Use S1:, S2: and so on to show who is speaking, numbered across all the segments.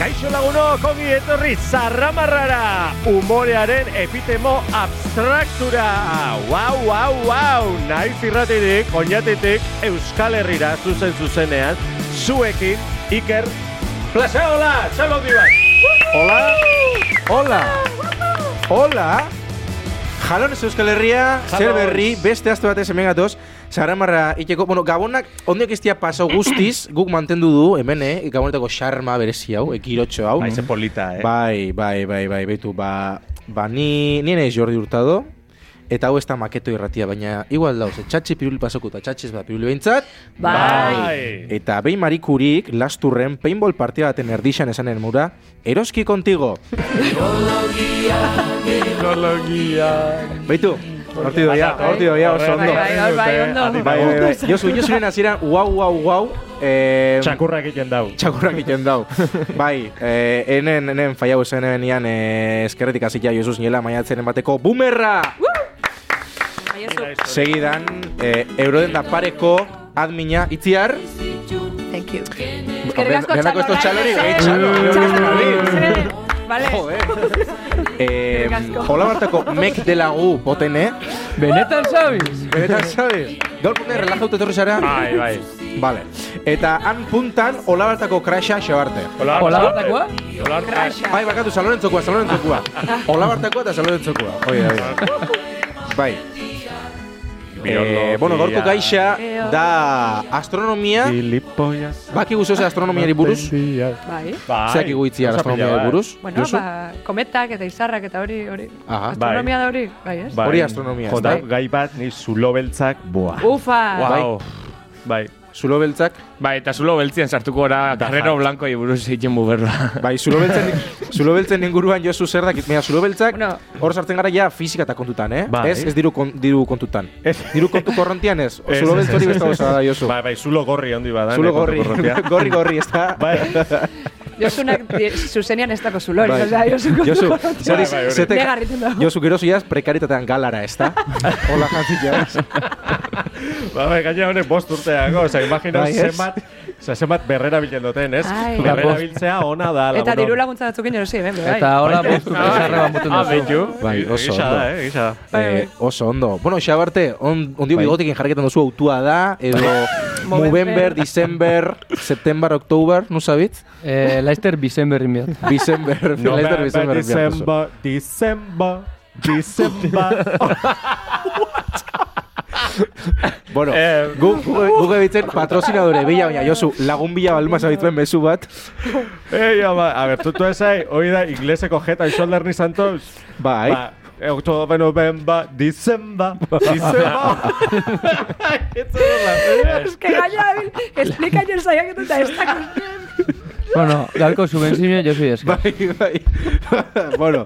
S1: Kaixo lagunok ongi etorri zarramarrara, umorearen epitemo abstraktura. Wow, wow, wow, naiz irratitik, oinatetik, Euskal Herrira zuzen zuzenean, zuekin, Iker, Plaza, hola, txalo bai. handi bat. Hola,
S2: Hola! Hola! Jalones Euskal Herria, zer
S1: Jalones.
S2: berri, beste aste batez hemen gatoz, Saramarra iteko, bueno, Gabonak ondiak iztia paso guztiz, guk mantendu du, hemen, eh, Gabonetako xarma berezi hau, ekirotxo hau.
S1: Aize polita, eh?
S2: Bai, bai, bai, bai, beitu, ba, ba ni, ni naiz Jordi Hurtado, eta hau ez da maketo irratia, baina igual dauz, eh, txatxi pirul pasoko eta txatxiz bat pirul behintzat,
S1: Bai.
S2: Eta behin marikurik, lasturren paintball partida baten erdixan esanen mura, eroski kontigo. Beitu, horti
S1: Bai,
S2: doia, horti doia oso ondo.
S3: Bai, bai, bai,
S2: Bai,
S3: ondo.
S2: bai, bai. Josu, Josu nena ziren, guau, guau, guau, eh,
S1: Txakurrak egiten dau.
S2: txakurrak egiten dau. bai, eh, enen, enen faiau zen ebenian eh, eskerretik azitia Josu zinela maiatzenen bateko bumerra!
S1: Bai.
S2: bai. Segidan, eh, euroden da pareko admina itziar.
S3: Thank you.
S2: Eskerrik asko txalo. Eskerrik txalori, bai, txalo.
S3: Txalo. Vale.
S2: Joder. Eh, hola bartako mek dela gu potene.
S4: Benetan zabiz?
S2: Benetan, sabes? Gaur pune relajauta etorri zara.
S1: Bai, bai.
S2: Vale. Eta han puntan hola bartako krasha xabarte.
S1: Hola,
S4: Hola, bartakoa?
S1: Hola,
S2: Bai, bakatu salonentzokua, salonentzokua. Hola bartakoa eta salonentzokua. Oie, oie. Bai. Eh, bueno, gorko gaixa da astronomia.
S1: Gilipollas.
S2: Baki guzoze astronomiari buruz.
S3: Bai.
S1: Bai.
S2: Zeak iguitzi
S1: Gauza pila
S2: astronomiari
S1: bat.
S2: buruz.
S3: Bueno,
S2: Josu?
S3: ba, kometak eta izarrak eta hori, hori.
S2: Aha.
S3: Astronomia da hori, bai, ez?
S2: Hori astronomia, ez
S1: Jota,
S2: da?
S1: gai bat, ni zulo beltzak, boa. Ba,
S3: Ufa!
S5: Wow. Bai.
S2: Zulo beltzak.
S5: Bai, eta zulo beltzien sartuko gara Carrero Blanco buruz egiten buberra.
S2: Bai, zulo beltzen, zulo beltzen inguruan jozu zer dakit. Mira, zulo beltzak,
S3: Bueno.
S2: hor sartzen gara ja fizika eta kontutan, eh?
S1: Bai.
S2: Ez, ez diru, kon, diru kontutan.
S1: Ez.
S2: Diru kontu korrontian ez.
S1: Ez,
S2: Zulo
S1: ez,
S2: beltzori
S1: ez,
S2: beste gauza da jozu.
S1: Bai, bai, zulo gorri handi badan.
S2: Zulo
S1: eh,
S2: gorri,
S1: kontu korrontea.
S2: gorri gorri, ez da?
S1: Bai,
S3: Josunak di- zuzenian ez dako zulori,
S2: Bai.
S3: osea, Josu
S2: Josu,
S3: kontu
S2: zer diz-
S3: kontu.
S1: Bai, bai, hori.
S2: zete-
S3: Negarriten dago.
S2: Josu, gero zuiaz prekaritatean galara, ez da? Hola, jantzia.
S1: bai, bai, gaina honek bost urteago, oza, imagina
S2: Bai, ez?
S1: zenbat, oza, zenbat berrera bilen duten, ez?
S3: Ai.
S1: Berrera biltzea ona da,
S3: Eta diru
S1: lagunon.
S3: laguntza batzukin erosi, hemen, bai.
S4: Eta hola bostu bezarra bat mutun
S5: Ah, beitu.
S2: Bai, oso
S1: Gisa da,
S2: ondo.
S1: eh, gisa da.
S3: Bai, bai.
S2: Eh, oso ondo. Bueno, xabarte, on, ondio
S1: Bai.
S2: bigotekin jarraketan duzu autua da, edo Movember,
S3: Movember.
S2: December, September, October, nu sabit?
S4: Eh, Leicester bizen berrin biat.
S2: December, Laster December. enviar duzu.
S1: December, December, December.
S2: Bueno,
S1: Eh,
S2: gu, gu, gu ebitzen patrozinadore bila, baina Josu, lagun bila balma zabitzen mezu bat.
S1: Ei, ama, a ber, tutu esai, hoi da, ingleseko jeta y shoulder ni santos.
S2: Bai.
S1: Ba, eh, October, November, December, December.
S3: Ez que gaina, Emil, explica jo zaiak eta ez da
S4: Bueno, gaurko subenzimio jo zui eska.
S2: Bai, bai. bueno,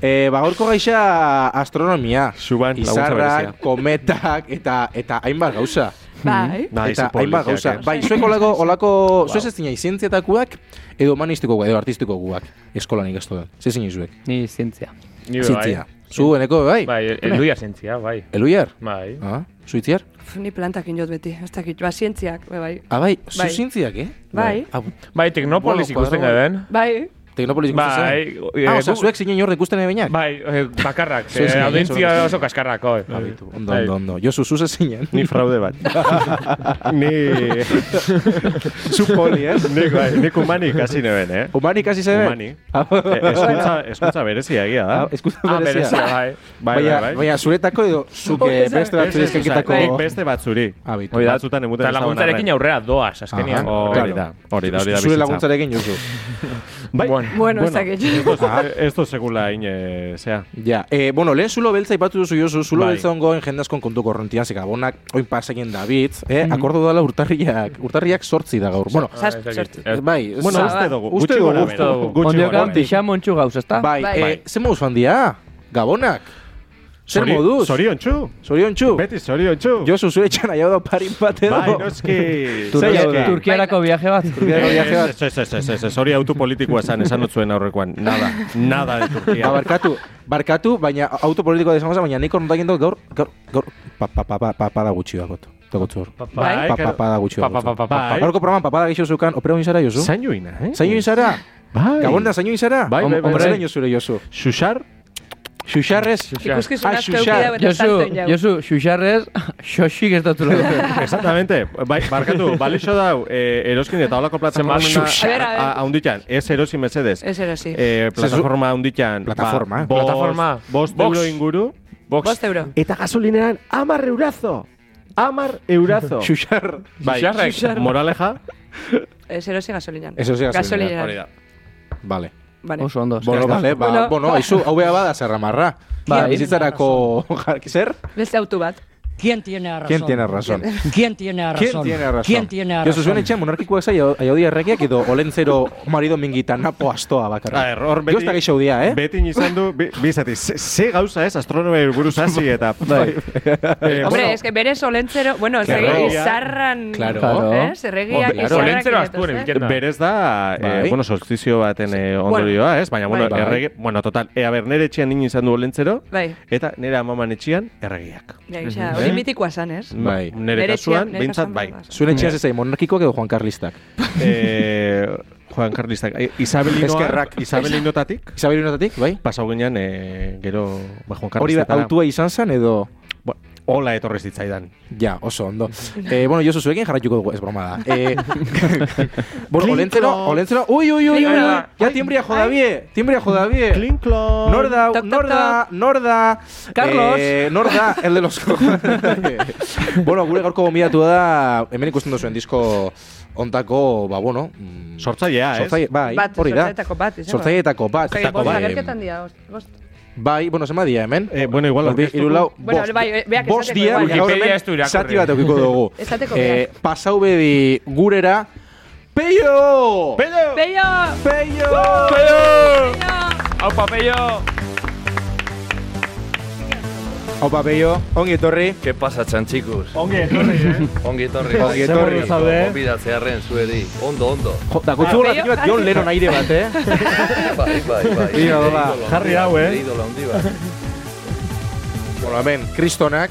S2: eh, ba, gaurko gaixa astronomia.
S5: Suban, laguntza berezia.
S2: Izarrak, kometak, eta, eta hainbat gauza.
S3: Bai.
S2: eta hainbat gauza.
S1: ¿eh?
S2: Bai, zuek olako, olako zuek ez zinei zientziatakoak, edo humanistiko guak, edo artistiko guak, eskolan ikastu da. Ze zinei zuek?
S1: Bai.
S4: Ni zientzia.
S2: Zientzia. Zu, eneko, bai?
S5: Bai, elduia zientzia, bai.
S2: Eluiar?
S5: Bai.
S2: Ah, zuitziar?
S3: Pf, Ni plantakin jot beti, ez dakit, ba, zientziak, bai, bai.
S2: Ah, bai, zu
S3: Bai.
S2: zientziak, eh?
S3: Bai.
S2: Ah,
S5: Bai, Teknopolis
S2: Bueno,
S5: ikusten
S2: kuadro-
S5: garen.
S3: Bai,
S2: Teknopolis ikusten
S5: Bai,
S2: zen?
S5: eh,
S2: ah, osea,
S5: gu-
S2: zuek zinen jorde ikusten ebenak?
S5: Bai, eh, bakarrak,
S2: Zuen zinen,
S5: eh,
S2: zuen
S5: audientzia oso kaskarrako. eh, babitu.
S2: Ondo,
S5: Bai.
S2: ondo, ondo. Josu, zuze zinen.
S1: Ni fraude bat. ni... Zu poli, eh? Nik, bai, nik humani kasi neben, eh?
S2: Humani ikasi zebe?
S1: Humani. Eh, eskuntza, eskuntza berezia egia da.
S2: Ah, eskuntza
S5: Ah, berezia,
S2: berezia.
S5: bai.
S1: Bai, bai,
S2: Baina-
S1: bai.
S2: Baina zuretako edo zuke
S3: Ez, ez,
S2: beste
S1: Ez, ez,
S2: batzuri
S1: ez,
S2: eskaketako...
S1: nik beste batzuri.
S2: Ah, bitu.
S1: Hori da, batzutan emuten
S5: Eta
S1: ¿eh?
S5: laguntzarekin aurrera doaz, azkenian.
S2: Aha.
S1: Hori
S2: Claro. pues,
S1: da, hori da, hori da
S2: Zure
S1: bizitza.
S2: laguntzarekin, Josu.
S1: Bai,
S5: Bueno.
S3: bueno, ez dakit.
S1: Esto, esto sekula ine, zea.
S2: Ja, eh, bueno, lehen zulo beltza ipatu duzu jozu, zulo
S1: Bai.
S2: beltza ongoen jendazkon kontu korrontian, zeka bonak, oin pasekin David, eh, akordu dela urtarriak, urtarriak sortzi da gaur. Bueno,
S3: Zaz-
S5: Ah, ez
S3: sortzi.
S5: dakit. Eh,
S2: bai,
S1: Bueno,
S2: za-
S1: uste dugu,
S2: uste
S1: gutxi
S2: dugu,
S1: gora Bai.
S2: uste
S1: bera.
S2: dugu.
S1: Gutxi
S4: Ondiokan
S1: gora bera.
S2: Eh,
S4: pixa montxu gauz, ezta?
S2: Bai,
S3: Bai.
S2: eh, ze mouz fan dia, gabonak. Zer
S1: Zori-
S2: moduz?
S1: Zorion txu.
S2: Zorion txu.
S1: Beti zorion txu.
S2: Josu zure etxan nahiago da parin bat edo.
S1: Bai, noski.
S2: Tur- Zaila
S4: Turkia-
S2: da.
S4: Turkiarako viaje bat.
S2: Turkiarako viaje bat.
S1: Ez, ez, ez, ez, ez, ez, hori autu politikoa esan, esan dut zuen aurrekoan. Nada, nada de Turquía.
S2: Ba, Ah, barkatu, barkatu, baina autopolitikoa desango zen, baina nik horretakin dut gaur, gaur, gaur, pa, pa, pa, pa, papada gutxi bakot. Dokotzu hor. Pa,
S1: Bai,
S2: pa,
S1: claro.
S2: papada gutxi
S5: Pa, pa, pa,
S2: bakot.
S5: pa, pa,
S1: Bai.
S5: pa.
S2: Gaurko programan papada gixo zukan, opera hoin zara, Josu?
S1: Zaino ina, eh?
S2: Zaino izara?
S1: Bai.
S2: Gabon da, zaino izara?
S1: Bai, bai, bai,
S2: Hombre,
S1: bai.
S2: zaino zure, Josu.
S1: Susar,
S2: Xuxarrez?
S3: Ikuskizun
S2: Ah,
S3: asko
S2: xuxar.
S3: eukidau eta
S4: Josu,
S3: salto jau.
S4: Josu, xuxarrez, xoxik ez dutula.
S1: exactamente. Bai, barkatu, balixo dau, eh, eroskin eta holako plataforma
S3: A ver, a ver.
S1: haunditan. Ez erosi mesedes.
S3: Ez erosi.
S1: Eh, plataforma haunditan.
S2: Plataforma.
S1: Ba, bost-
S5: Plataforma.
S1: Bost
S5: Box.
S1: euro inguru.
S5: Box.
S3: Bost euro.
S1: Eta gasolinean, amar eurazo. Amar eurazo.
S2: Xuxar.
S1: Bai,
S5: Xuxarrek.
S1: Xuxar. moraleja.
S3: Ez erosi gasolinan.
S2: Ez erosi gasolinan,
S1: Hori da.
S2: Vale.
S3: Vale.
S4: Oso ondo.
S2: Bueno, vale, ba,
S3: Bueno.
S2: bueno, aizu, hau beha bada zerramarra.
S4: Bai.
S2: Bizitzarako, zer?
S3: Beste autu bat.
S6: ¿Quién tiene razón?
S2: ¿Quién tiene razón?
S6: ¿Quién tiene razón?
S2: ¿Quién tiene razón?
S6: ¿Quién tiene razón?
S2: Josu, zuen etxean monarkikoak zai aiaudi errekiak edo olentzero marido mingita napo astoa bakarra.
S1: A ver, hor Ah, beti...
S2: Josta geixo dia, eh?
S1: Beti izan du, bi- bi zati, ze, ze gauza ez, astronomia buruz hasi eta...
S4: Bai.
S1: Eh,
S3: Hombre, es que bere solentzero, bueno, ez
S2: Claro.
S3: egin izarran...
S2: Claro.
S3: Eh, zerregia
S2: Hombre, claro.
S3: izarrak
S5: Olentzero
S3: idatuz,
S5: astuen
S3: eh?
S5: egiten da.
S1: Berez da,
S2: Bai.
S1: eh, bueno, solstizio baten eh, ondorioa, ez? Baina, bueno,
S3: Bai.
S1: errege... Bueno, total, e, a ber, nere etxean nini izan du olentzero,
S3: Bai,
S1: eta nere amaman etxean erregiak.
S3: ja, gisa, hori
S2: Eh?
S3: mitikoa zan, ez?
S2: Bai.
S1: Nere
S3: Bere etxean,
S1: kasuan,
S3: nere
S1: behintzat,
S3: kasuan
S1: bai.
S3: berdaz.
S2: Zuen etxean zezai monarkikoak edo Juan Carlistak.
S1: Eh, Juan Carlistak, eh, Isabelinoa,
S2: Eskerrak.
S1: Isabelinotatik,
S2: Isabel Irunatatik, bai?
S1: pasau ginean, eh, gero, ba, Juan
S2: Hori da,
S1: Carlistak.
S2: autua izan zen edo...
S1: Hola etorri zitzaidan.
S2: Ja, oso ondo. eh, bueno, Josu, zuekin jarraituko dugu, ez broma da. Eh, bueno, olentzero, olentzero... Ui, ui, ui, ui, ui,
S3: Klinko.
S2: ja timbria jodabie, timbria jodabie.
S1: Klinklon!
S2: Nor da,
S3: Toc, toc,
S2: nor da, nor da...
S4: Carlos.
S2: Eh, nor da, el de los... bueno, gure gaurko gomidatu da, hemen ikusten duzuen disko ontako, ba, bueno... mm,
S1: Sortzailea, ez?
S2: sortzaile- bai,
S3: Bat,
S2: hori da.
S3: sortzaileetako bat izango da.
S2: Sortzaileetako bat.
S3: Okai, bost
S1: bai.
S3: agerketan dia, bost- bost.
S2: Bai, bueno, zema dia hemen?
S1: Eh, bueno, igual
S2: Zortzi-
S1: aurkeztuko-
S2: hirulau,
S3: Bueno,
S2: bost.
S3: bai, beak
S2: bost
S3: esateko
S2: dia,
S3: igual.
S2: baina gaur hemen
S5: Wikipedia ez du irakurri.
S2: Zati bat eukiko dugu.
S3: Esateko
S2: eh, pasau bedi gurera, Peio!
S1: Pedro!
S3: Peio!
S2: Peio!
S5: Hau papeio!
S2: Opa, Peio, ongi etorri.
S7: Ke pasa, txantxikus?
S1: Ongi etorri, eh?
S7: Ongi etorri.
S2: Ongi Bai, etorri.
S7: Ondo, Gonbidatzearren zueri. Ondo, ondo.
S2: Jo, Dakotzu hola
S3: Peio-
S2: bat John Lennon aire bat, eh?
S7: Bai, bai, bai.
S2: Ia, hola.
S1: Jarri hau, eh?
S7: Idola handi bat.
S2: Bueno, hemen, kristonak.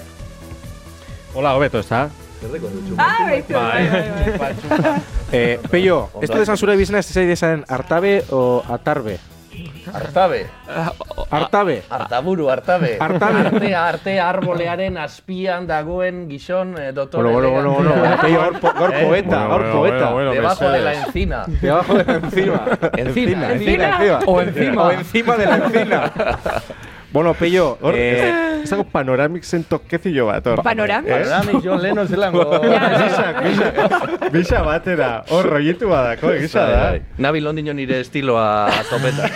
S1: Hola, hobeto, ez da?
S7: Zerreko dutxu.
S3: Ah, beitu, bai, bai, bai.
S2: Eh, Peio,
S7: Ondo.
S2: ez dut esan zure bizna ez zait esan hartabe o atarbe?
S8: Artabe.
S2: Hartabe.
S8: Artaburu, artabe.
S2: Artabe.
S8: Arte, arte arbolearen azpian dagoen gizon eh, dotor.
S2: Bueno, bueno, bueno, bueno, bueno, Peio, gaur, po- gaur
S8: Eh?
S2: poeta, gaur poeta.
S8: Debajo de la encina.
S2: De abajo de la encima.
S8: Encina,
S3: encina.
S2: O encima. O
S1: Bai.
S2: encima de la encina. Bueno, Peio,
S1: Hor,
S2: eh,
S1: ez dago panoramik zen tokezillo bat, hor.
S3: Panoramik?
S8: Panorami John Lennon zelango.
S3: Bai.
S1: Gisa,
S2: eh,
S1: gisa, gisa batera, hor roietu badako, gisa da.
S7: Nabi Londino nire estiloa topeta.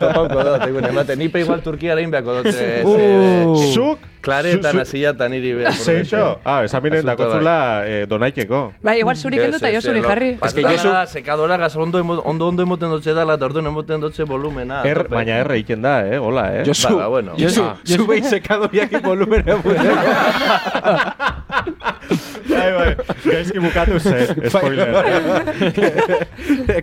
S7: Topauko dut, egun ematen. Nipe igual Turkiara inbeako dut. eh,
S2: Uh.
S1: Zuk,
S7: Klaretan
S1: zu-
S7: azilatan niri eh, be.
S1: zeixo, ah, esan miren
S7: Asunto
S1: dakotzula eh, donaikeko.
S3: Bai, igual zuri kendu eta jo zuri jarri.
S7: Es que
S2: Josu-
S7: Josu... Sekadora gaz ondo emo- ondo ondo emoten dutxe dala, eta orduan emoten dutxe
S2: Ah,
S7: volumena.
S1: Er,
S7: tope.
S1: baina erre egiten da, eh, hola, eh.
S2: Josu,
S7: Ba, bueno.
S2: Josu,
S4: Ah.
S2: Josu, behin sekado biak volumena buena.
S1: Bai, bai, gaizki bukatu zen, spoiler.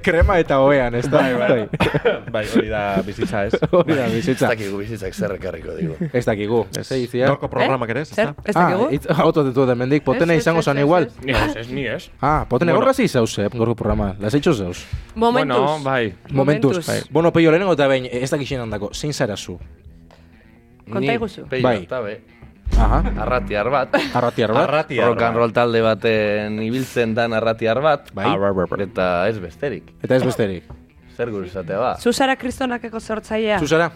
S2: Krema eta hoean, ez da?
S1: Bai, bai. Bai, hori da bizitza ez.
S2: Hori da,
S7: Ez
S2: bizitza.
S7: dakigu bizitzak zerrekarriko digu.
S2: Ez dakigu. Ez dakigu.
S1: Gorko programak ere, ez
S3: eh? Zer?
S1: da?
S3: Ez
S2: Ah,
S3: dakigu?
S2: itz, auto detu da mendik, potena
S3: Ez, ez,
S2: izango
S3: ez,
S2: zan
S3: ez,
S2: igual.
S3: ez.
S5: Ni ez, ez, ni ez.
S2: Ah, potena
S5: Bueno.
S2: gorra zauz, eh, gorko programa. Las hecho zauz.
S3: Momentuz.
S5: Bueno, bai.
S2: Momentuz.
S3: Momentuz.
S2: Bai. Bueno, peio lehenengo eta behin, ez dakixen handako, zein zara zu?
S3: Konta iguzu.
S7: Peio,
S2: Bai.
S7: eta be,
S2: Aha,
S7: arratiar bat.
S2: arratiar bat.
S1: Arratiar
S7: Rock and
S1: bat.
S7: roll talde baten ibiltzen dan arratiar bat.
S2: Bai.
S7: Arr, arr, arr. Eta ez besterik.
S2: Eta ez besterik.
S7: Zer gure izatea ba.
S3: Zuzara kristonakeko sortzailea.
S2: Zuzara?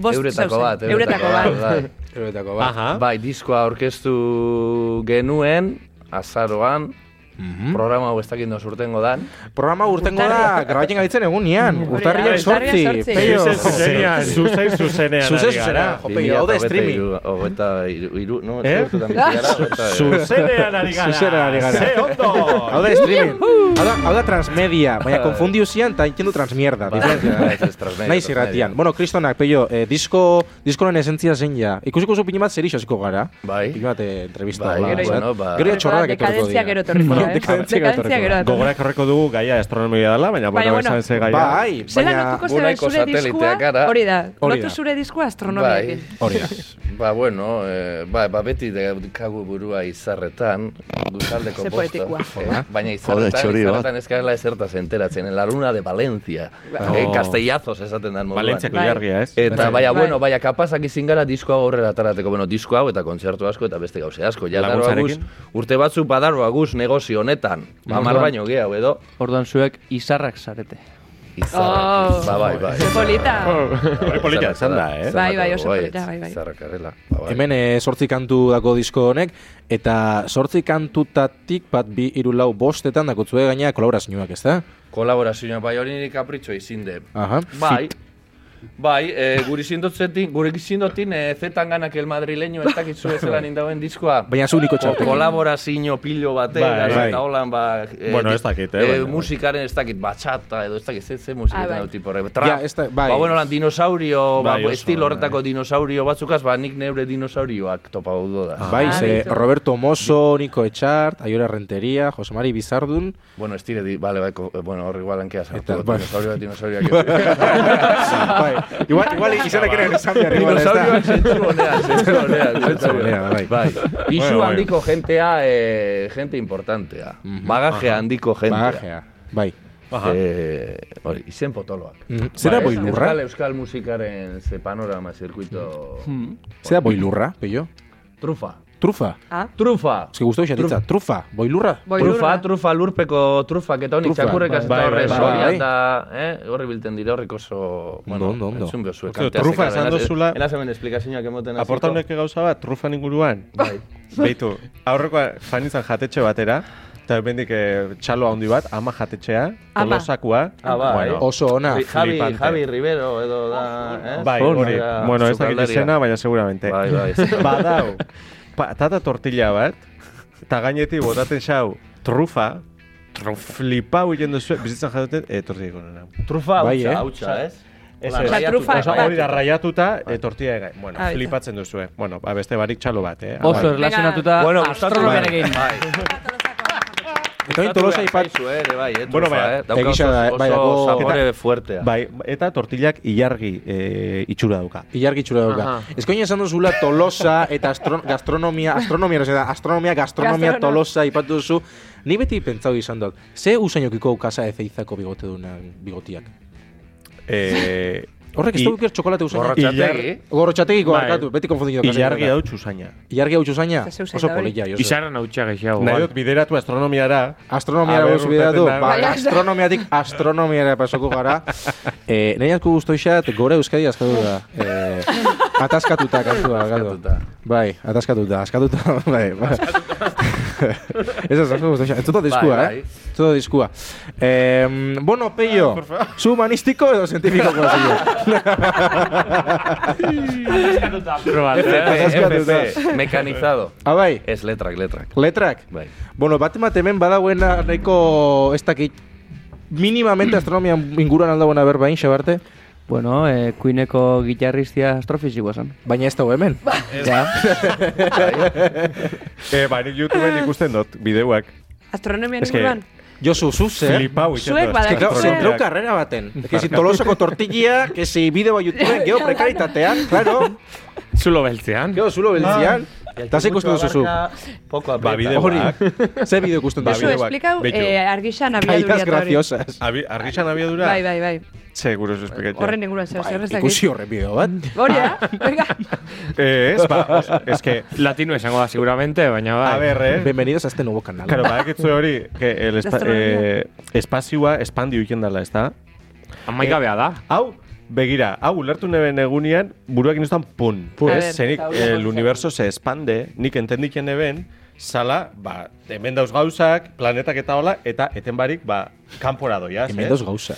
S3: Bost
S7: Euretako
S3: zauzen.
S7: bat.
S3: Euretako bat.
S7: bai.
S2: Eroetako, ba.
S1: Aha.
S7: Bai, diskoa aurkeztu genuen, azaroan,
S2: Mhm.
S7: programa hau ez dakit nos urtengo dan.
S2: Programa urtengo da, grabatzen gabitzen egunian. Urtarriak
S3: Urtarriak
S2: sortzi.
S3: sortzi.
S2: Peio.
S1: Zuzen zuzenean, zuzen zuzenean.
S2: Zuzen
S1: ari gara.
S2: zuzenean. Jope, gaude streaming.
S7: Hogeita iru, iru, no,
S1: Eh?
S7: ez dut amizigara, hogeita iru.
S1: Zuzenean ari gara.
S2: Zuzenean ari gara.
S1: Ze
S2: Hau
S1: ondo.
S2: da streaming. Hau da, hau da transmedia. Baina konfundiu zian, eta inkendu transmierda.
S7: Bai,
S2: diferentzia.
S7: ez, ez, transmedia,
S2: Naiz
S7: transmedia.
S2: irratian. Bueno, kristonak, peio, eh, disko, diskoren esentzia zein ja. Ikusiko zu pini bat zer hasiko gara.
S7: Bai.
S2: Pini bat eh, entrevista.
S7: Bai,
S2: hola,
S7: gero,
S2: bat.
S7: bueno, ba.
S2: Gero ja txorrak etorriko
S3: Dekadentzia
S2: dira.
S3: Bai, gero etorriko da, eh?
S2: Dekadentzia gero
S3: Dekadentzia
S2: etorriko da.
S3: gero
S1: Gogorak horreko dugu gaia astronomia dela, baina
S3: Baina,
S1: bueno,
S3: bueno,
S1: esan ze gaia.
S2: Bai,
S3: Zelan
S2: baina...
S3: lotuko zera
S7: gunaiko
S3: zure diskoa,
S7: sateliteak gara.
S3: hori da,
S2: Hori
S3: lotu
S2: da.
S3: zure diskoa astronomiakin.
S7: Bai,
S2: Hori da.
S7: ba, bueno, eh, ba, ba beti daukagu burua izarretan, duzaldeko
S3: Ze poetikoa.
S7: eh, baina izarretan, izarretan ez garela ezertaz enteratzen, en la luna de Valencia, eh,
S1: Oh.
S7: castellazos esaten dan moduan.
S1: Valentziako
S3: Bai.
S1: ilargia, ez?
S7: Eta
S3: Bai.
S7: baina,
S3: Bai.
S7: bueno, baina kapazak izin gara disko hau aurrera atarateko, bueno, disko hau eta kontzertu asko eta beste gauze asko. Ja, daroa guz,
S1: Laguntzarekin?
S7: urte batzuk badaroa guz negozio honetan, hamar baino gehiago edo,
S4: Orduan zuek izarrak zarete.
S1: Bai.
S7: izarra.
S3: Oh.
S7: Ba, bai, bai.
S3: Ze polita.
S1: Hori Bai, polita esan
S7: Izarra,
S1: da,
S7: izarra,
S1: eh?
S3: Bai, bai,
S7: izarra,
S3: oso polita, bai, bai.
S7: Izarra karrela. Ba, bai.
S2: Hemen eh, sortzi kantu dako disko honek, eta sortzi kantutatik bat bi hiru lau bostetan dakotzue gaina kolaborazioak, ez da?
S7: Kolaborazioa, bai, hori nire kapritxo izin de.
S2: Aha.
S7: Bai, bai, e, guri zindotzetin, gure zindotin e, zetan ganak el madrileño ez dakitzu ez zelan indauen diskoa.
S2: Baina zu niko
S7: Ko-
S2: txartekin.
S7: Kolaborazio pilo batean,
S1: Bai,
S7: bai,
S2: bai.
S7: eta holan, ba... eh,
S1: Bueno, ez dakit, eh, baina, bai.
S7: musikaren ez dakit, batxata, edo ez dakit, ze, ze musikaren
S3: Ah, bai.
S7: ah, tipo, horre, trap.
S2: Ja, ez da- bai.
S7: Ba, bueno, lan dinosaurio,
S1: Bai,
S7: ba,
S1: oso,
S7: estilo horretako dinosaurio batzukaz, ba, nik neure dinosaurioak topau da.
S2: Bai,
S3: Ah,
S2: ze
S3: beitu.
S2: Roberto Mosso, Nico Echart, Aiora Renteria, Josemari Bizardun.
S7: Bueno, estire, di, bale, bai, ko- bueno, horri igual hankea sartu,
S2: Eta, bai.
S7: dinosaurioak, dinosaurioak.
S2: bai, igual, igual izanak ere esan behar. igual, ez da?
S7: Dinosaurioak zentzu honean, zentzu honean, zentzu
S2: honea, bai.
S7: honean. Bai. Isu
S1: Bueno,
S7: handiko jentea, eh, gente importantea. Bagaje handiko jentea.
S2: Bagajea, bai.
S7: Eh, hori, izen potoloak.
S2: Mhm. Zera
S7: Bai,
S2: boilurra?
S7: Euskal, euskal musikaren ze panorama zirkuito...
S2: Zera boilurra, peio?
S7: Trufa.
S2: Trufa.
S3: Ah,
S7: Trufa.
S2: Ez que guztu xatitza, trufa, boilurra.
S3: boilurra.
S7: Trufa, trufa, lurpeko trufak eta honik
S2: Trufa,
S7: txakurrek
S2: bai,
S7: eta
S1: bai,
S7: horre
S1: bai,
S7: soria
S2: bai.
S7: eta eh, horri bilten dira horrek oso... Bueno,
S2: ondo, ondo.
S7: Entzun behozue.
S1: Osteo, trufa esan duzula-
S7: Enaz hemen esplikazioak emoten hasiko.
S1: Aporta honek gauza bat, trufan inguruan.
S7: Bai.
S1: Beitu, aurrekoa fan izan jatetxe batera, eta bendik eh, txaloa handi bat, ama jatetxea,
S3: Ama.
S1: tolosakua.
S7: Ah, bai.
S2: Oso ona.
S7: Ri- Javi,
S1: Flipante.
S7: Javi Rivero edo da... Eh?
S1: Bai, hori. Bueno, ez dakit
S7: Sukaldaria.
S1: izena, baina seguramente.
S7: Bai, bai.
S1: Badau, patata tortilla bat, eta gainetik botaten xau, trufa, Trufa. Flipau egin duzu, bizitzan jatuten, e, tortilla ikonena.
S7: Trufa
S2: Bai, eh?
S7: hautsa, hautsa, ez?
S1: Ez,
S7: Hola,
S1: ez.
S3: Osea,
S7: raiatuko,
S3: trufa-
S1: Osa,
S3: Bai.
S1: hori da raiatuta, e, tortilla ega. Bueno,
S3: Ah,
S1: flipatzen duzu, eh. Bueno, ba, beste barik txalo bat, eh. Ah,
S4: Oso
S1: bai.
S4: erlazionatuta
S7: Bueno, gustatu
S4: astronomiarekin.
S2: Eta hori tolosa ipat...
S7: Aizu, ere, bai, eh,
S1: Bueno,
S7: bueno,
S1: baina,
S7: eh? Dauka
S2: egia
S7: oso,
S2: da,
S7: oso
S2: bai, dago-
S7: sabore fuertea.
S1: Bai, eta tortillak ilargi eh, itxura duka.
S2: Ilargitxura dauka. Ezkoin esan duzula tolosa eta astro, gastronomia, astronomia, ez da, astronomia, gastronomia,
S3: Gastrono-
S2: tolosa, ipatu duzu. Ni beti pentsau izan dut, ze usainokiko ukasa ezeizako bigote duna bigotiak?
S1: Eh,
S2: Horrek ez
S1: i-
S2: da duker txokolate usainak.
S7: Borratxategi.
S1: Ilar-
S2: Gorrotxategiko
S1: Bai.
S2: barkatu, beti konfundido.
S1: Ilargi hau txusaina.
S2: Ilargi hau usaina?
S3: Eta ze usain
S2: Oso
S3: da hori?
S2: polilla, Jose.
S5: Izarra nautxa gehiago.
S1: Nahi
S5: bai.
S1: dut bideratu astronomiara.
S2: Astronomia
S1: A ber,
S2: behuz bideratu,
S1: urteten da.
S2: ba,
S3: Baina-
S2: astronomiatik astronomiara pasoko gara. eh, Nei asko guztoixat, gore Euskadi askatu da. Eh, atazkatuta kantua, galdu.
S7: Askatuta.
S2: Bai, atazkatuta, askatuta, bai. bai. Ez ez asko guztoixat, entzuta diskua,
S7: Bai, bai.
S2: eh? Entzuta diskua. Eh, bueno, Peio, zu humanistiko edo zientifiko konzio? Askatuta.
S7: FP, mekanizado.
S2: Abai,
S7: Ez letrak, letrak.
S2: Ah, bai, letrak?
S7: Bai.
S2: Bueno, bat bat hemen badauena nahiko ez dakit minimamente astronomia inguruan aldauena berbain, xabarte,
S4: Bueno, eh, kuineko gitarristia astrofizikoa zen.
S2: baina ez dago hemen.
S4: Ja.
S1: Eh, ba, nik YouTubeen ikusten dut, bideuak.
S3: Astronomian
S1: Ez que-
S3: inguruan.
S2: Josu, zuz, eh?
S1: Flipau Ba, egiten
S3: Zuek
S1: dut.
S2: Es que, claro,
S3: Flipatu.
S2: zentrau karrera baten. Que si tolosoko tortilla, que si bideo youtube geo prekaritatean, claro.
S5: Zulo beltzean.
S2: Geo zulo beltzian. Eta ze ikusten duzu zu.
S7: Poko
S1: Ba,
S7: aprieta.
S1: bideo.
S2: Hori, ze bideo ikusten
S1: Ba,
S3: Josu,
S2: duzu.
S1: bideo-
S3: esplikau,
S1: Beitu.
S3: eh, argixan abiadura
S2: Aitas
S3: eta hori.
S2: graciosas.
S1: Abi, argixan abiadura?
S3: Bai, bai, bai.
S1: Seguro ez esplikatxo.
S3: Horren inguruan zer, zer ez
S2: Ikusi
S3: dakit.
S2: horren bideo bat.
S3: Hori da, venga.
S1: Eh, ez, ba, ez que...
S5: Latino esango da, seguramente, baina bai.
S1: A ber, eh?
S2: Bienvenidos a este nuevo canal.
S1: Claro, badakitzu hori, que el espa,
S3: Gastronomia.
S1: eh, espazioa espandio egiten dela, ez da?
S5: Amaigabea da.
S1: Hau, begira, hau ulertu neben egunean, buruak inoztan pun.
S3: A
S1: Ez,
S3: ber,
S1: zenik
S3: eta hori
S1: el
S3: kontzeptu.
S1: universo se expande, nik entendiken eben, zala, ba, hemen dauz gauzak, planetak eta hola, eta eten barik, ba, kanpora doiaz.
S2: Hemen dauz gauza.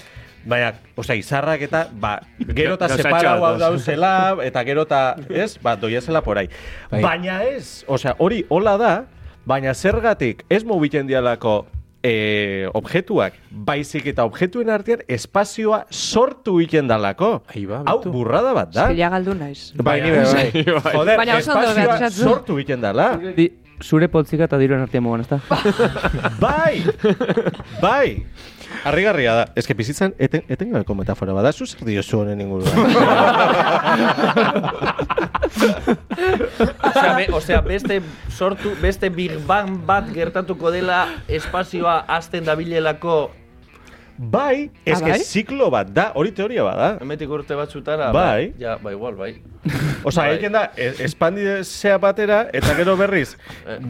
S1: Baina, Bai, osea, izarrak eta, ba, gero eta
S5: Gauzatxo
S1: separau hau
S5: bat dauz.
S1: dauzela, eta gero eta, ez, ba, doiazela porai.
S2: Bai.
S1: Baina ez, osea, hori hola da, baina zergatik ez mobiten dialako e, objetuak, baizik eta objetuen artean espazioa sortu egiten dalako.
S2: Ai, ba,
S1: Hau
S2: Beto.
S1: burrada bat da.
S3: Eske ja galdu naiz.
S1: Bai, ni be, bai. Joder,
S3: Baina oso ondo
S1: espazioa
S3: behatxatu.
S1: sortu egiten dala.
S4: Di, zure poltsika eta diroen artean mogan, ezta?
S1: Bai! bai! Arrigarria da. Ez que bizitzan eten, etengabeko metafora bada, zu zer diozu honen inguruan.
S7: Osea, be, osea, beste sortu, beste Big Bang bat gertatuko dela espazioa azten dabilelako
S1: bai, ez
S3: Ah,
S1: que
S3: bai?
S1: ziklo bat da, hori teoria bat da.
S7: hemetik urte batzutara.
S1: Bai.
S7: Ba, ja, ba, igual, bai.
S1: Osa,
S7: Bai.
S1: egiten da, e- espandide zea batera, eta gero berriz,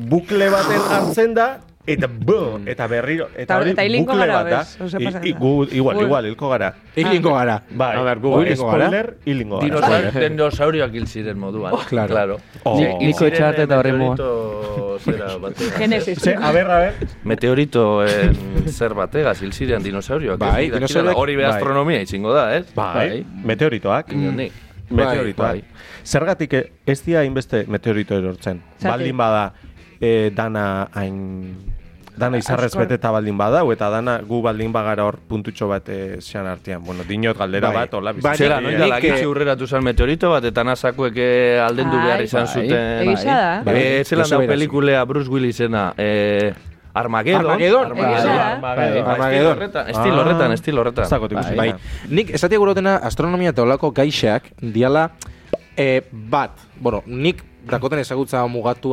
S1: bukle baten hartzen da, eta bum, eta berriro,
S3: Eta
S1: eta
S3: hor-
S1: hori
S3: eta hilingo
S1: bukle
S3: gara,
S1: bat da.
S3: bez? Osea,
S1: I-
S3: pasa
S1: i-
S3: nada.
S1: gu- igual,
S3: Ui.
S1: igual, hilko gara.
S2: Hilingo gara.
S1: Bai,
S5: A ber, gu-
S1: Hori,
S2: hilingo gara.
S1: spoiler, hilingo gara.
S7: Dinosaur, dinosaurioak hil ziren moduan.
S2: Claro.
S1: Oh.
S7: Hil- hil
S4: Nico
S7: ziren,
S4: Etxarte eta
S7: eh,
S4: horren
S7: meteorito zera bategaz.
S3: Genesis.
S1: Ze, a ber, a ber,
S7: Meteorito en zer bategaz hil ziren dinosaurioak.
S2: Bai,
S7: Ez dakit,
S2: dinosaurioak-
S7: Hori be
S1: bai.
S7: astronomia itxingo da, ez?
S1: Bai, meteoritoak.
S7: Inondik.
S1: Meteoritoak.
S7: Bai,
S1: Zergatik eh, ez dira hainbeste meteorito erortzen.
S3: Zergatik.
S1: Baldin bada eh, dana hain dana izarrez
S3: Askor.
S1: beteta baldin bada eta dana gu baldin bagara hor puntutxo bat eh, sean artean. Bueno, dinot galdera
S2: Bai.
S1: bat hola
S2: Bai,
S1: bizitzen.
S7: Zera,
S2: Nik-
S7: noin
S1: dira.
S2: nik-
S7: dala gitxe urreratu zen meteorito bat, eta nasakoek eh, aldendu
S3: Ai,
S7: behar izan
S4: bai.
S7: zuten.
S3: Egisa da.
S2: Bai.
S7: Eh, zelan
S2: Oso
S7: da
S2: beraz.
S7: pelikulea Bruce Willisena, eh, Armageddon.
S2: Armageddon. Bai,
S3: Egisa da.
S7: Armageddon. Ba,
S2: Armageddon. Ah.
S7: Estilo horretan, estilo horretan, estilo horretan.
S1: Ez dakot ikusi.
S2: Bai. Nik esatia gure dena astronomia eta olako gaixak diala eh, bat. Bueno, nik dakoten ezagutza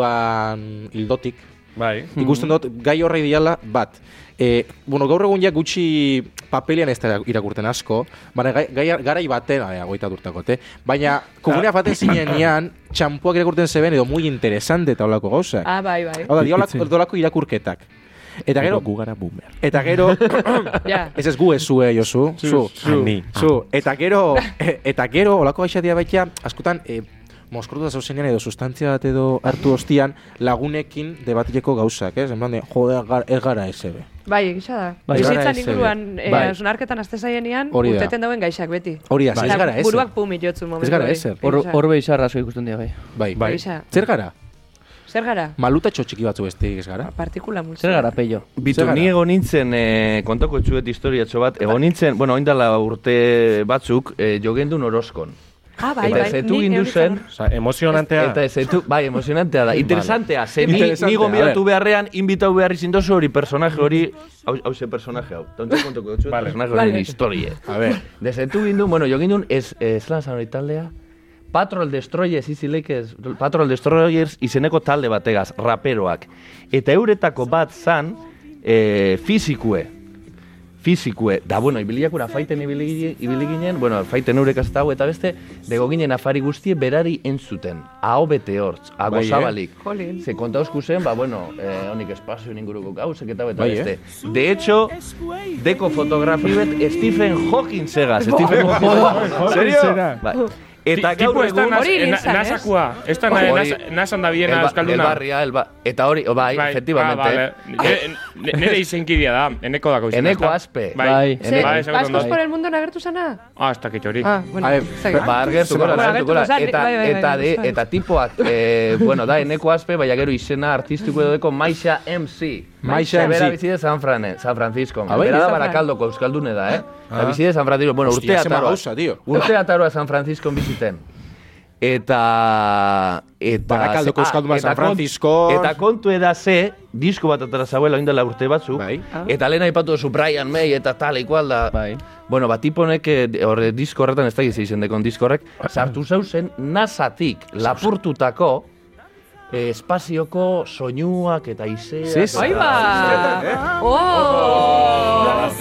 S2: mugatuan hildotik.
S1: Bai.
S2: Ikusten dut gai horrei diala bat. E, bueno, gaur egun ja gutxi papelian ez da irakurten asko, baina gai, gai- garai baten, aia, goita durtakot, eh? baina komunea
S1: Ah.
S2: baten zinean txampuak irakurten zeben edo muy interesante eta olako gauzak.
S3: Ah, bai, bai.
S2: Hau da, diolako, diolako irakurketak. Eta gero,
S1: gu gara boomer.
S2: eta gero,
S3: Ja.
S2: Ez ez gu ez zu, eh, Josu. Zu.
S1: zu. Ni.
S2: Zu. Eta gero, eta gero, olako gaixatia baitia, askotan, eh, moskortuta zauzenean edo sustantzia bat edo hartu ostian lagunekin debatileko gauzak, ez? En plan de, jode, gar, ez gara ez ebe.
S3: Bai, egisa da.
S4: Bai.
S2: Gara
S3: Bizitzan
S2: ez,
S3: inguruan,
S2: eh,
S3: eh,
S2: bai.
S3: hausnarketan azte zaienean,
S2: Hori da.
S3: urteten dauen gaixak beti.
S2: Hori da, ez
S3: Eta
S2: gara ezer.
S3: Buruak pumi jotzen momentu.
S2: Ez gara
S3: hori.
S2: ezer.
S4: Hor,
S3: Egisa.
S4: horbe izarra asko ikusten dira, bai.
S2: Bai.
S1: Bai.
S3: Egisa.
S2: Zer gara?
S3: Zer gara?
S2: Maluta txotxiki batzu beste ez gara?
S3: Partikula multzo.
S4: Zer gara, peio?
S7: Bitu,
S2: Zer gara?
S7: ni egon nintzen, eh, kontako etxuet historiatxo bat, egon nintzen, bueno, oindala urte batzuk, eh, jogendun oroskon.
S3: Ah, bai,
S7: Eta
S3: bai.
S7: zetu
S3: ni
S7: gindu
S3: neuri
S7: zen.
S3: zegoen.
S1: Osa, emozionantea.
S7: Eta ez, etu, bai, emozionantea da. Interesantea, ze ni,
S2: Interesantea,
S7: ni
S2: a
S7: gombidatu
S2: ver.
S7: beharrean, inbitau behar izin dozu hori personaje hori, hau, hau ze personaje hau. Tontu kontuko dutxu,
S1: Vale.
S7: personaje hori
S3: Vale.
S7: historie.
S2: A ber.
S7: Dezetu gindun, bueno, jo gindun, ez, ez lan zan hori taldea, Patrol Destroyers izilekez, Patrol Destroyers izeneko talde bategaz, raperoak. Eta euretako bat zan, e, fizikue, fizikue. Da, bueno, ibiliakura faiten ibili ibili ginen, bueno, faiten eurek azta hau eta beste, dego ginen afari guztie berari entzuten. Aho bete hortz, ago
S1: Bai, eh?
S7: zabalik.
S3: Jolín.
S7: Ze kontauzku zen, ba, bueno, eh, honik espazioen inguruko gauzek eta hau eta
S2: Bai,
S7: beste. De hecho, deko fotografibet Stephen Hawking segaz. Stephen Hawking.
S5: zera.
S7: Bai. Eta
S5: Ti- tipo
S7: gaur
S5: ez da
S7: egun...
S5: nas-
S3: Hori
S5: eh, na-
S3: nintzen, ez?
S5: nasakoa. Ez da na-
S7: Hori-
S5: nas- nasan da biena
S7: Elba-
S5: Euskalduna.
S7: Elbarria, elba. Eta hori, oh, bai,
S5: Bai,
S7: efectivamente.
S5: ah, vale. Nere- ne- Nere izenkidia da, eneko dako izena.
S7: Eneko
S5: ezta?
S7: aspe.
S5: Bai,
S4: Bai.
S3: Ze,
S5: bai, esaten
S3: Vascos
S5: dut.
S3: por el mundo nagertu zana?
S5: Ah, ez dakit hori.
S3: Ah, bueno,
S2: A ver,
S3: ez dakit.
S7: Ba, argertuko
S3: Bueno,
S7: la, argertuko la.
S3: argertuko zen,
S7: Eta,
S3: bai, bai, bai,
S7: eta,
S3: bai,
S7: de,
S3: bai.
S7: eta tipoak, eh, bueno, da, eneko aspe, baina gero izena artistiko edodeko Maixa MC.
S2: Maixa MC.
S7: Bera bizide San, Frane, San Francisco.
S2: Ah, bai? Ah.
S7: Bera da
S3: San Fran.
S7: Barakaldoko Euskaldune da, eh? Eta bizide San Francisco. Bueno,
S2: Hostia,
S7: urte
S2: zenbat
S7: ataroa.
S2: gauza, tio.
S7: Urte ataroa San Francisco biziten. Eta... eta ah,
S2: Barakaldoko Euskalduna
S7: eta
S2: San
S7: kont-
S2: Francisco.
S7: Eta kontu eda ze, disko bat atara zauela indela urte batzu.
S2: Bai.
S7: Eta lehen aipatu duzu Brian May eta tal, igual da...
S4: Bai.
S7: Bueno, bat tipo honek, eh, de- horre, disko horretan ez da gizi izen dekon disko horrek, sartu zauzen nasatik lapurtutako eh, espazioko soinuak eta izeak.
S2: Sí, sí.
S7: eta-
S3: Ai, ba! Oh!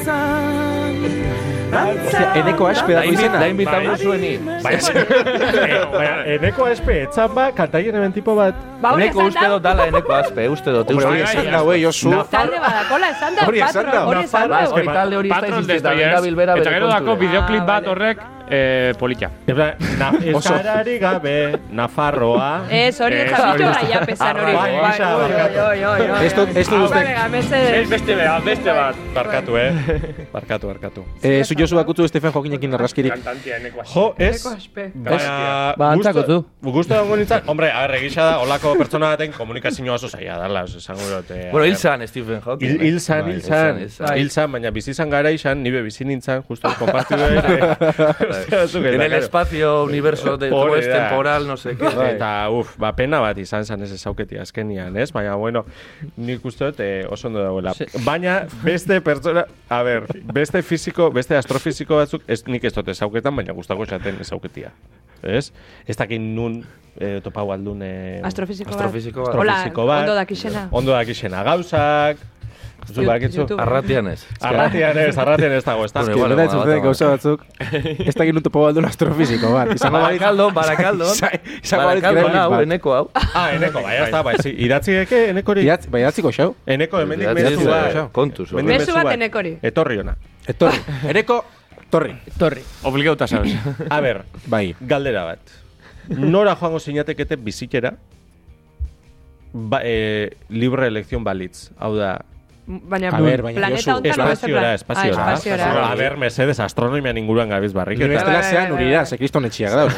S2: Ostia, eneko aspe
S7: Da
S2: dago
S7: inbi-
S2: izena.
S7: da inbitabu
S5: Bai. Eh,
S7: zueni.
S1: Bai,
S3: Bai,
S1: baina, eneko espe, etzan ba, kantaien hemen tipo bat.
S3: Ba, hori
S7: Eneko
S3: esan
S7: uste
S3: da,
S7: dut dala, eneko azpe, uste dut.
S2: Hombre,
S7: uste
S2: hori
S7: dut.
S2: esan da, güey, Josu.
S3: talde badakola, esan da,
S2: Hori esan da.
S3: patro, hori esan
S7: Ba,
S3: da.
S7: hori talde hori ez da
S5: Patrol
S7: existitzen,
S5: Destroyers.
S7: da bilbera
S5: Eta
S7: bere
S5: gero dako
S7: kontura.
S5: videoclip
S3: Ah,
S5: bat
S3: vale.
S5: horrek eh, polita.
S1: Na, euskarari gabe, Nafarroa.
S4: Eh,
S3: Ez, hori
S5: Ez,
S3: eta bitu
S5: hori-
S3: gaia pesan hori.
S1: Arragoa
S3: Bai,
S1: gisa,
S3: oi,
S1: barkatu.
S3: oi, oi, oi, oi.
S2: Ez dut- ez dut
S3: Hau,
S2: uste-
S3: bale, ga, mesedez.
S5: beste bat, beste bat.
S1: Barkatu,
S4: bai.
S1: eh? Barkatu, barkatu.
S2: Eh, zu Josu bakutzu Stephen Hawkingekin arraskirik.
S5: Kantantia, enekoa.
S1: Jo, ez?
S3: Aspe.
S1: Baina,
S4: Ba, antzako
S1: gusto-
S4: zu.
S1: Gusto dago nintzen, hombre, a ver, egisa da, olako pertsona baten komunikazioa oso zaila dala, oso esango dut. eh, a
S7: Bueno,
S1: ber.
S7: hil zan, Stephen Hawking.
S1: Hil, hil zan,
S4: Bai,
S1: hil zan, hil zan, baina bizi izan gara izan, nibe bizi nintzan, justo kompartidu
S4: Bai.
S1: ere. Osea, zuk
S7: En
S1: eta,
S7: el
S1: claro.
S7: espacio, universo, de,
S1: Hori
S7: como es
S1: da.
S7: temporal, no sé qué.
S1: Eta, uf, ba, pena bat izan zan ez ezauketi azkenian, ez? Baina, bueno, nik uste dut eh, oso ondo dagoela. Baina, beste pertsona, a ber, beste fisiko, beste astrofisiko batzuk, ez, nik ez dut ezauketan, baina gustako esaten ezauketia. Ez? Ez dakit nun eh, topau aldun... Eh,
S3: Astrofisiko bat.
S7: Astrofisiko bat.
S3: Hola,
S1: astrofisiko bat.
S3: ondo dakixena.
S1: Ondo dakixena gauzak. Zu
S3: Yo-
S1: bakitzu?
S3: YouTube.
S7: Arratian ez.
S1: Arratian ez, arratian ez dago, ez da.
S7: Bueno,
S2: Igual
S7: Igual,
S2: da
S7: bueno,
S2: itzuten
S7: bat,
S2: gauza batzuk. Ez dakit nun topo baldun astrofiziko, bat. Izango balit...
S7: Barakaldon, Barakaldon.
S2: Isa- izango balit
S7: Barakaldon
S2: Gremlins
S7: hau,
S2: bat.
S7: eneko hau.
S1: Ah, eneko, bai, ez da, bai, zi, iratzigeke, enekori.
S2: Idatz- Bai, datziko xau.
S1: Eneko, hemendik
S7: Idatzi
S1: mezu
S7: ez,
S1: bat.
S7: kontuz, hori.
S1: Hemendik
S3: Mezu bat enekori.
S1: Etorri ona.
S2: Etorri. Eneko, torri.
S4: Torri.
S5: Obligauta, sabes.
S1: A ber,
S2: Bai.
S1: galdera bat. Nora joango zinatekete bizitera ba, eh, libre elekzion balitz. Hau da,
S3: Baina,
S2: A ber, baina
S3: planeta
S2: Josu,
S3: honetan no es en plan-
S1: espaziora, espaziora.
S3: Ah, espaziora.
S1: Ah, A ber, mesedes, astronomian inguruan gabiz barrik.
S2: Nire
S1: Eta,
S2: bestela
S3: Bai,
S2: zean
S3: bai, bai,
S2: urira,
S3: bai.
S2: ze kriston etxiak dauz.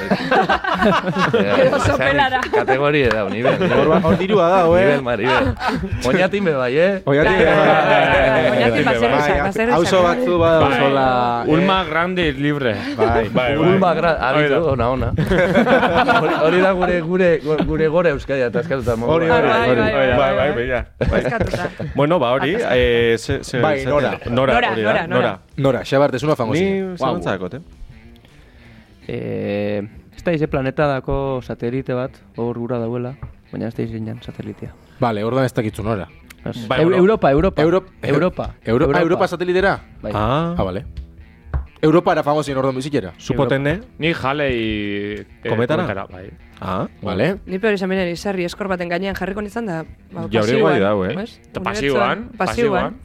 S3: Edo sopelara.
S7: Kategoria da, nivel.
S2: Hor ba- hor dirua da,
S7: Nivel,
S2: eh?
S7: maribel. Oñatin be bai, eh?
S2: Oiatik.
S3: Bai, bai, bai, bai.
S1: Oñatin baserrisak,
S3: baserrisak.
S2: Auzo batzu bada
S5: Bai.
S2: sola...
S5: Ulma grande y libre.
S2: Bai.
S1: bai, bai.
S7: Ulma gra...
S5: Hori da.
S7: Aditu, ona, ona. Hori- Hori da gure, gure, gure gore euskadia, eta eskatuta modu.
S2: Hori,
S3: Ah,
S2: hori.
S3: bai, bai,
S1: Bai, bai, bai,
S3: bai.
S1: bai.
S3: Eskatuta.
S1: Bueno, ba hori, eh, ze, ze,
S2: Bai,
S1: ze-
S2: Nora.
S1: Nora,
S3: Nora,
S1: hori da,
S3: Nora, Nora.
S2: Nora, xabar, desuna fango zinen.
S1: Ni zalantzakot, eh?
S4: Eh, ez da ize planetadako satelite bat, hor gura dauela, baina ez da izinan satelitea.
S2: Vale, orduan ez dakitzu nora.
S4: Ez.
S1: Bai,
S4: Eu-
S1: bueno.
S4: Europa, Europa.
S2: Europ-
S4: Europa.
S2: Euro, ah, Europa satelitera?
S4: Bai.
S2: Ah, vale. Europara fango zinen orduan bizitera.
S1: Supotene?
S5: Ni jale y... eh,
S1: Kometara?
S5: bai.
S1: Ah,
S2: Vale.
S3: Ni peor esan beneri, sarri eskor baten gainean jarriko nintzen da... Ba,
S1: Ja, hori
S3: pasioan,
S1: guai dau, eh?
S3: ¿ves?
S5: Eta pasiboan.
S3: Unibertsoan, Pasiboan.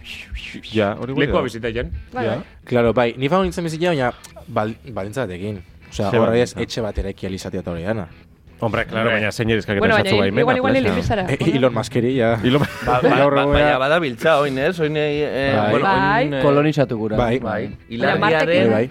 S1: ja, hori gure.
S5: Lekoa bizita jen.
S3: Bai,
S1: Ja.
S3: bai.
S2: Claro, bai, ni fango nintzen bizitera, baina bal, balintza batekin. Osea,
S1: Ze
S2: horra ez
S1: baldintza?
S2: etxe bat eraiki alizatea eta hori dana.
S1: Hombre, claro,
S5: Hombre.
S1: baina zein erizkak
S3: Bueno,
S1: eta
S3: baina
S1: esatzu bai
S3: igual, igual hili
S2: E, Elon Muskeri, ja.
S7: Ba- ba- ba- Baina badabiltza, oin ez? Oin, eh,
S2: Bai.
S7: bueno, oin... eh,
S4: Kolonizatu gura.
S2: Bai.
S7: Bai.
S2: Bai,
S7: Hilarriaren
S2: bai.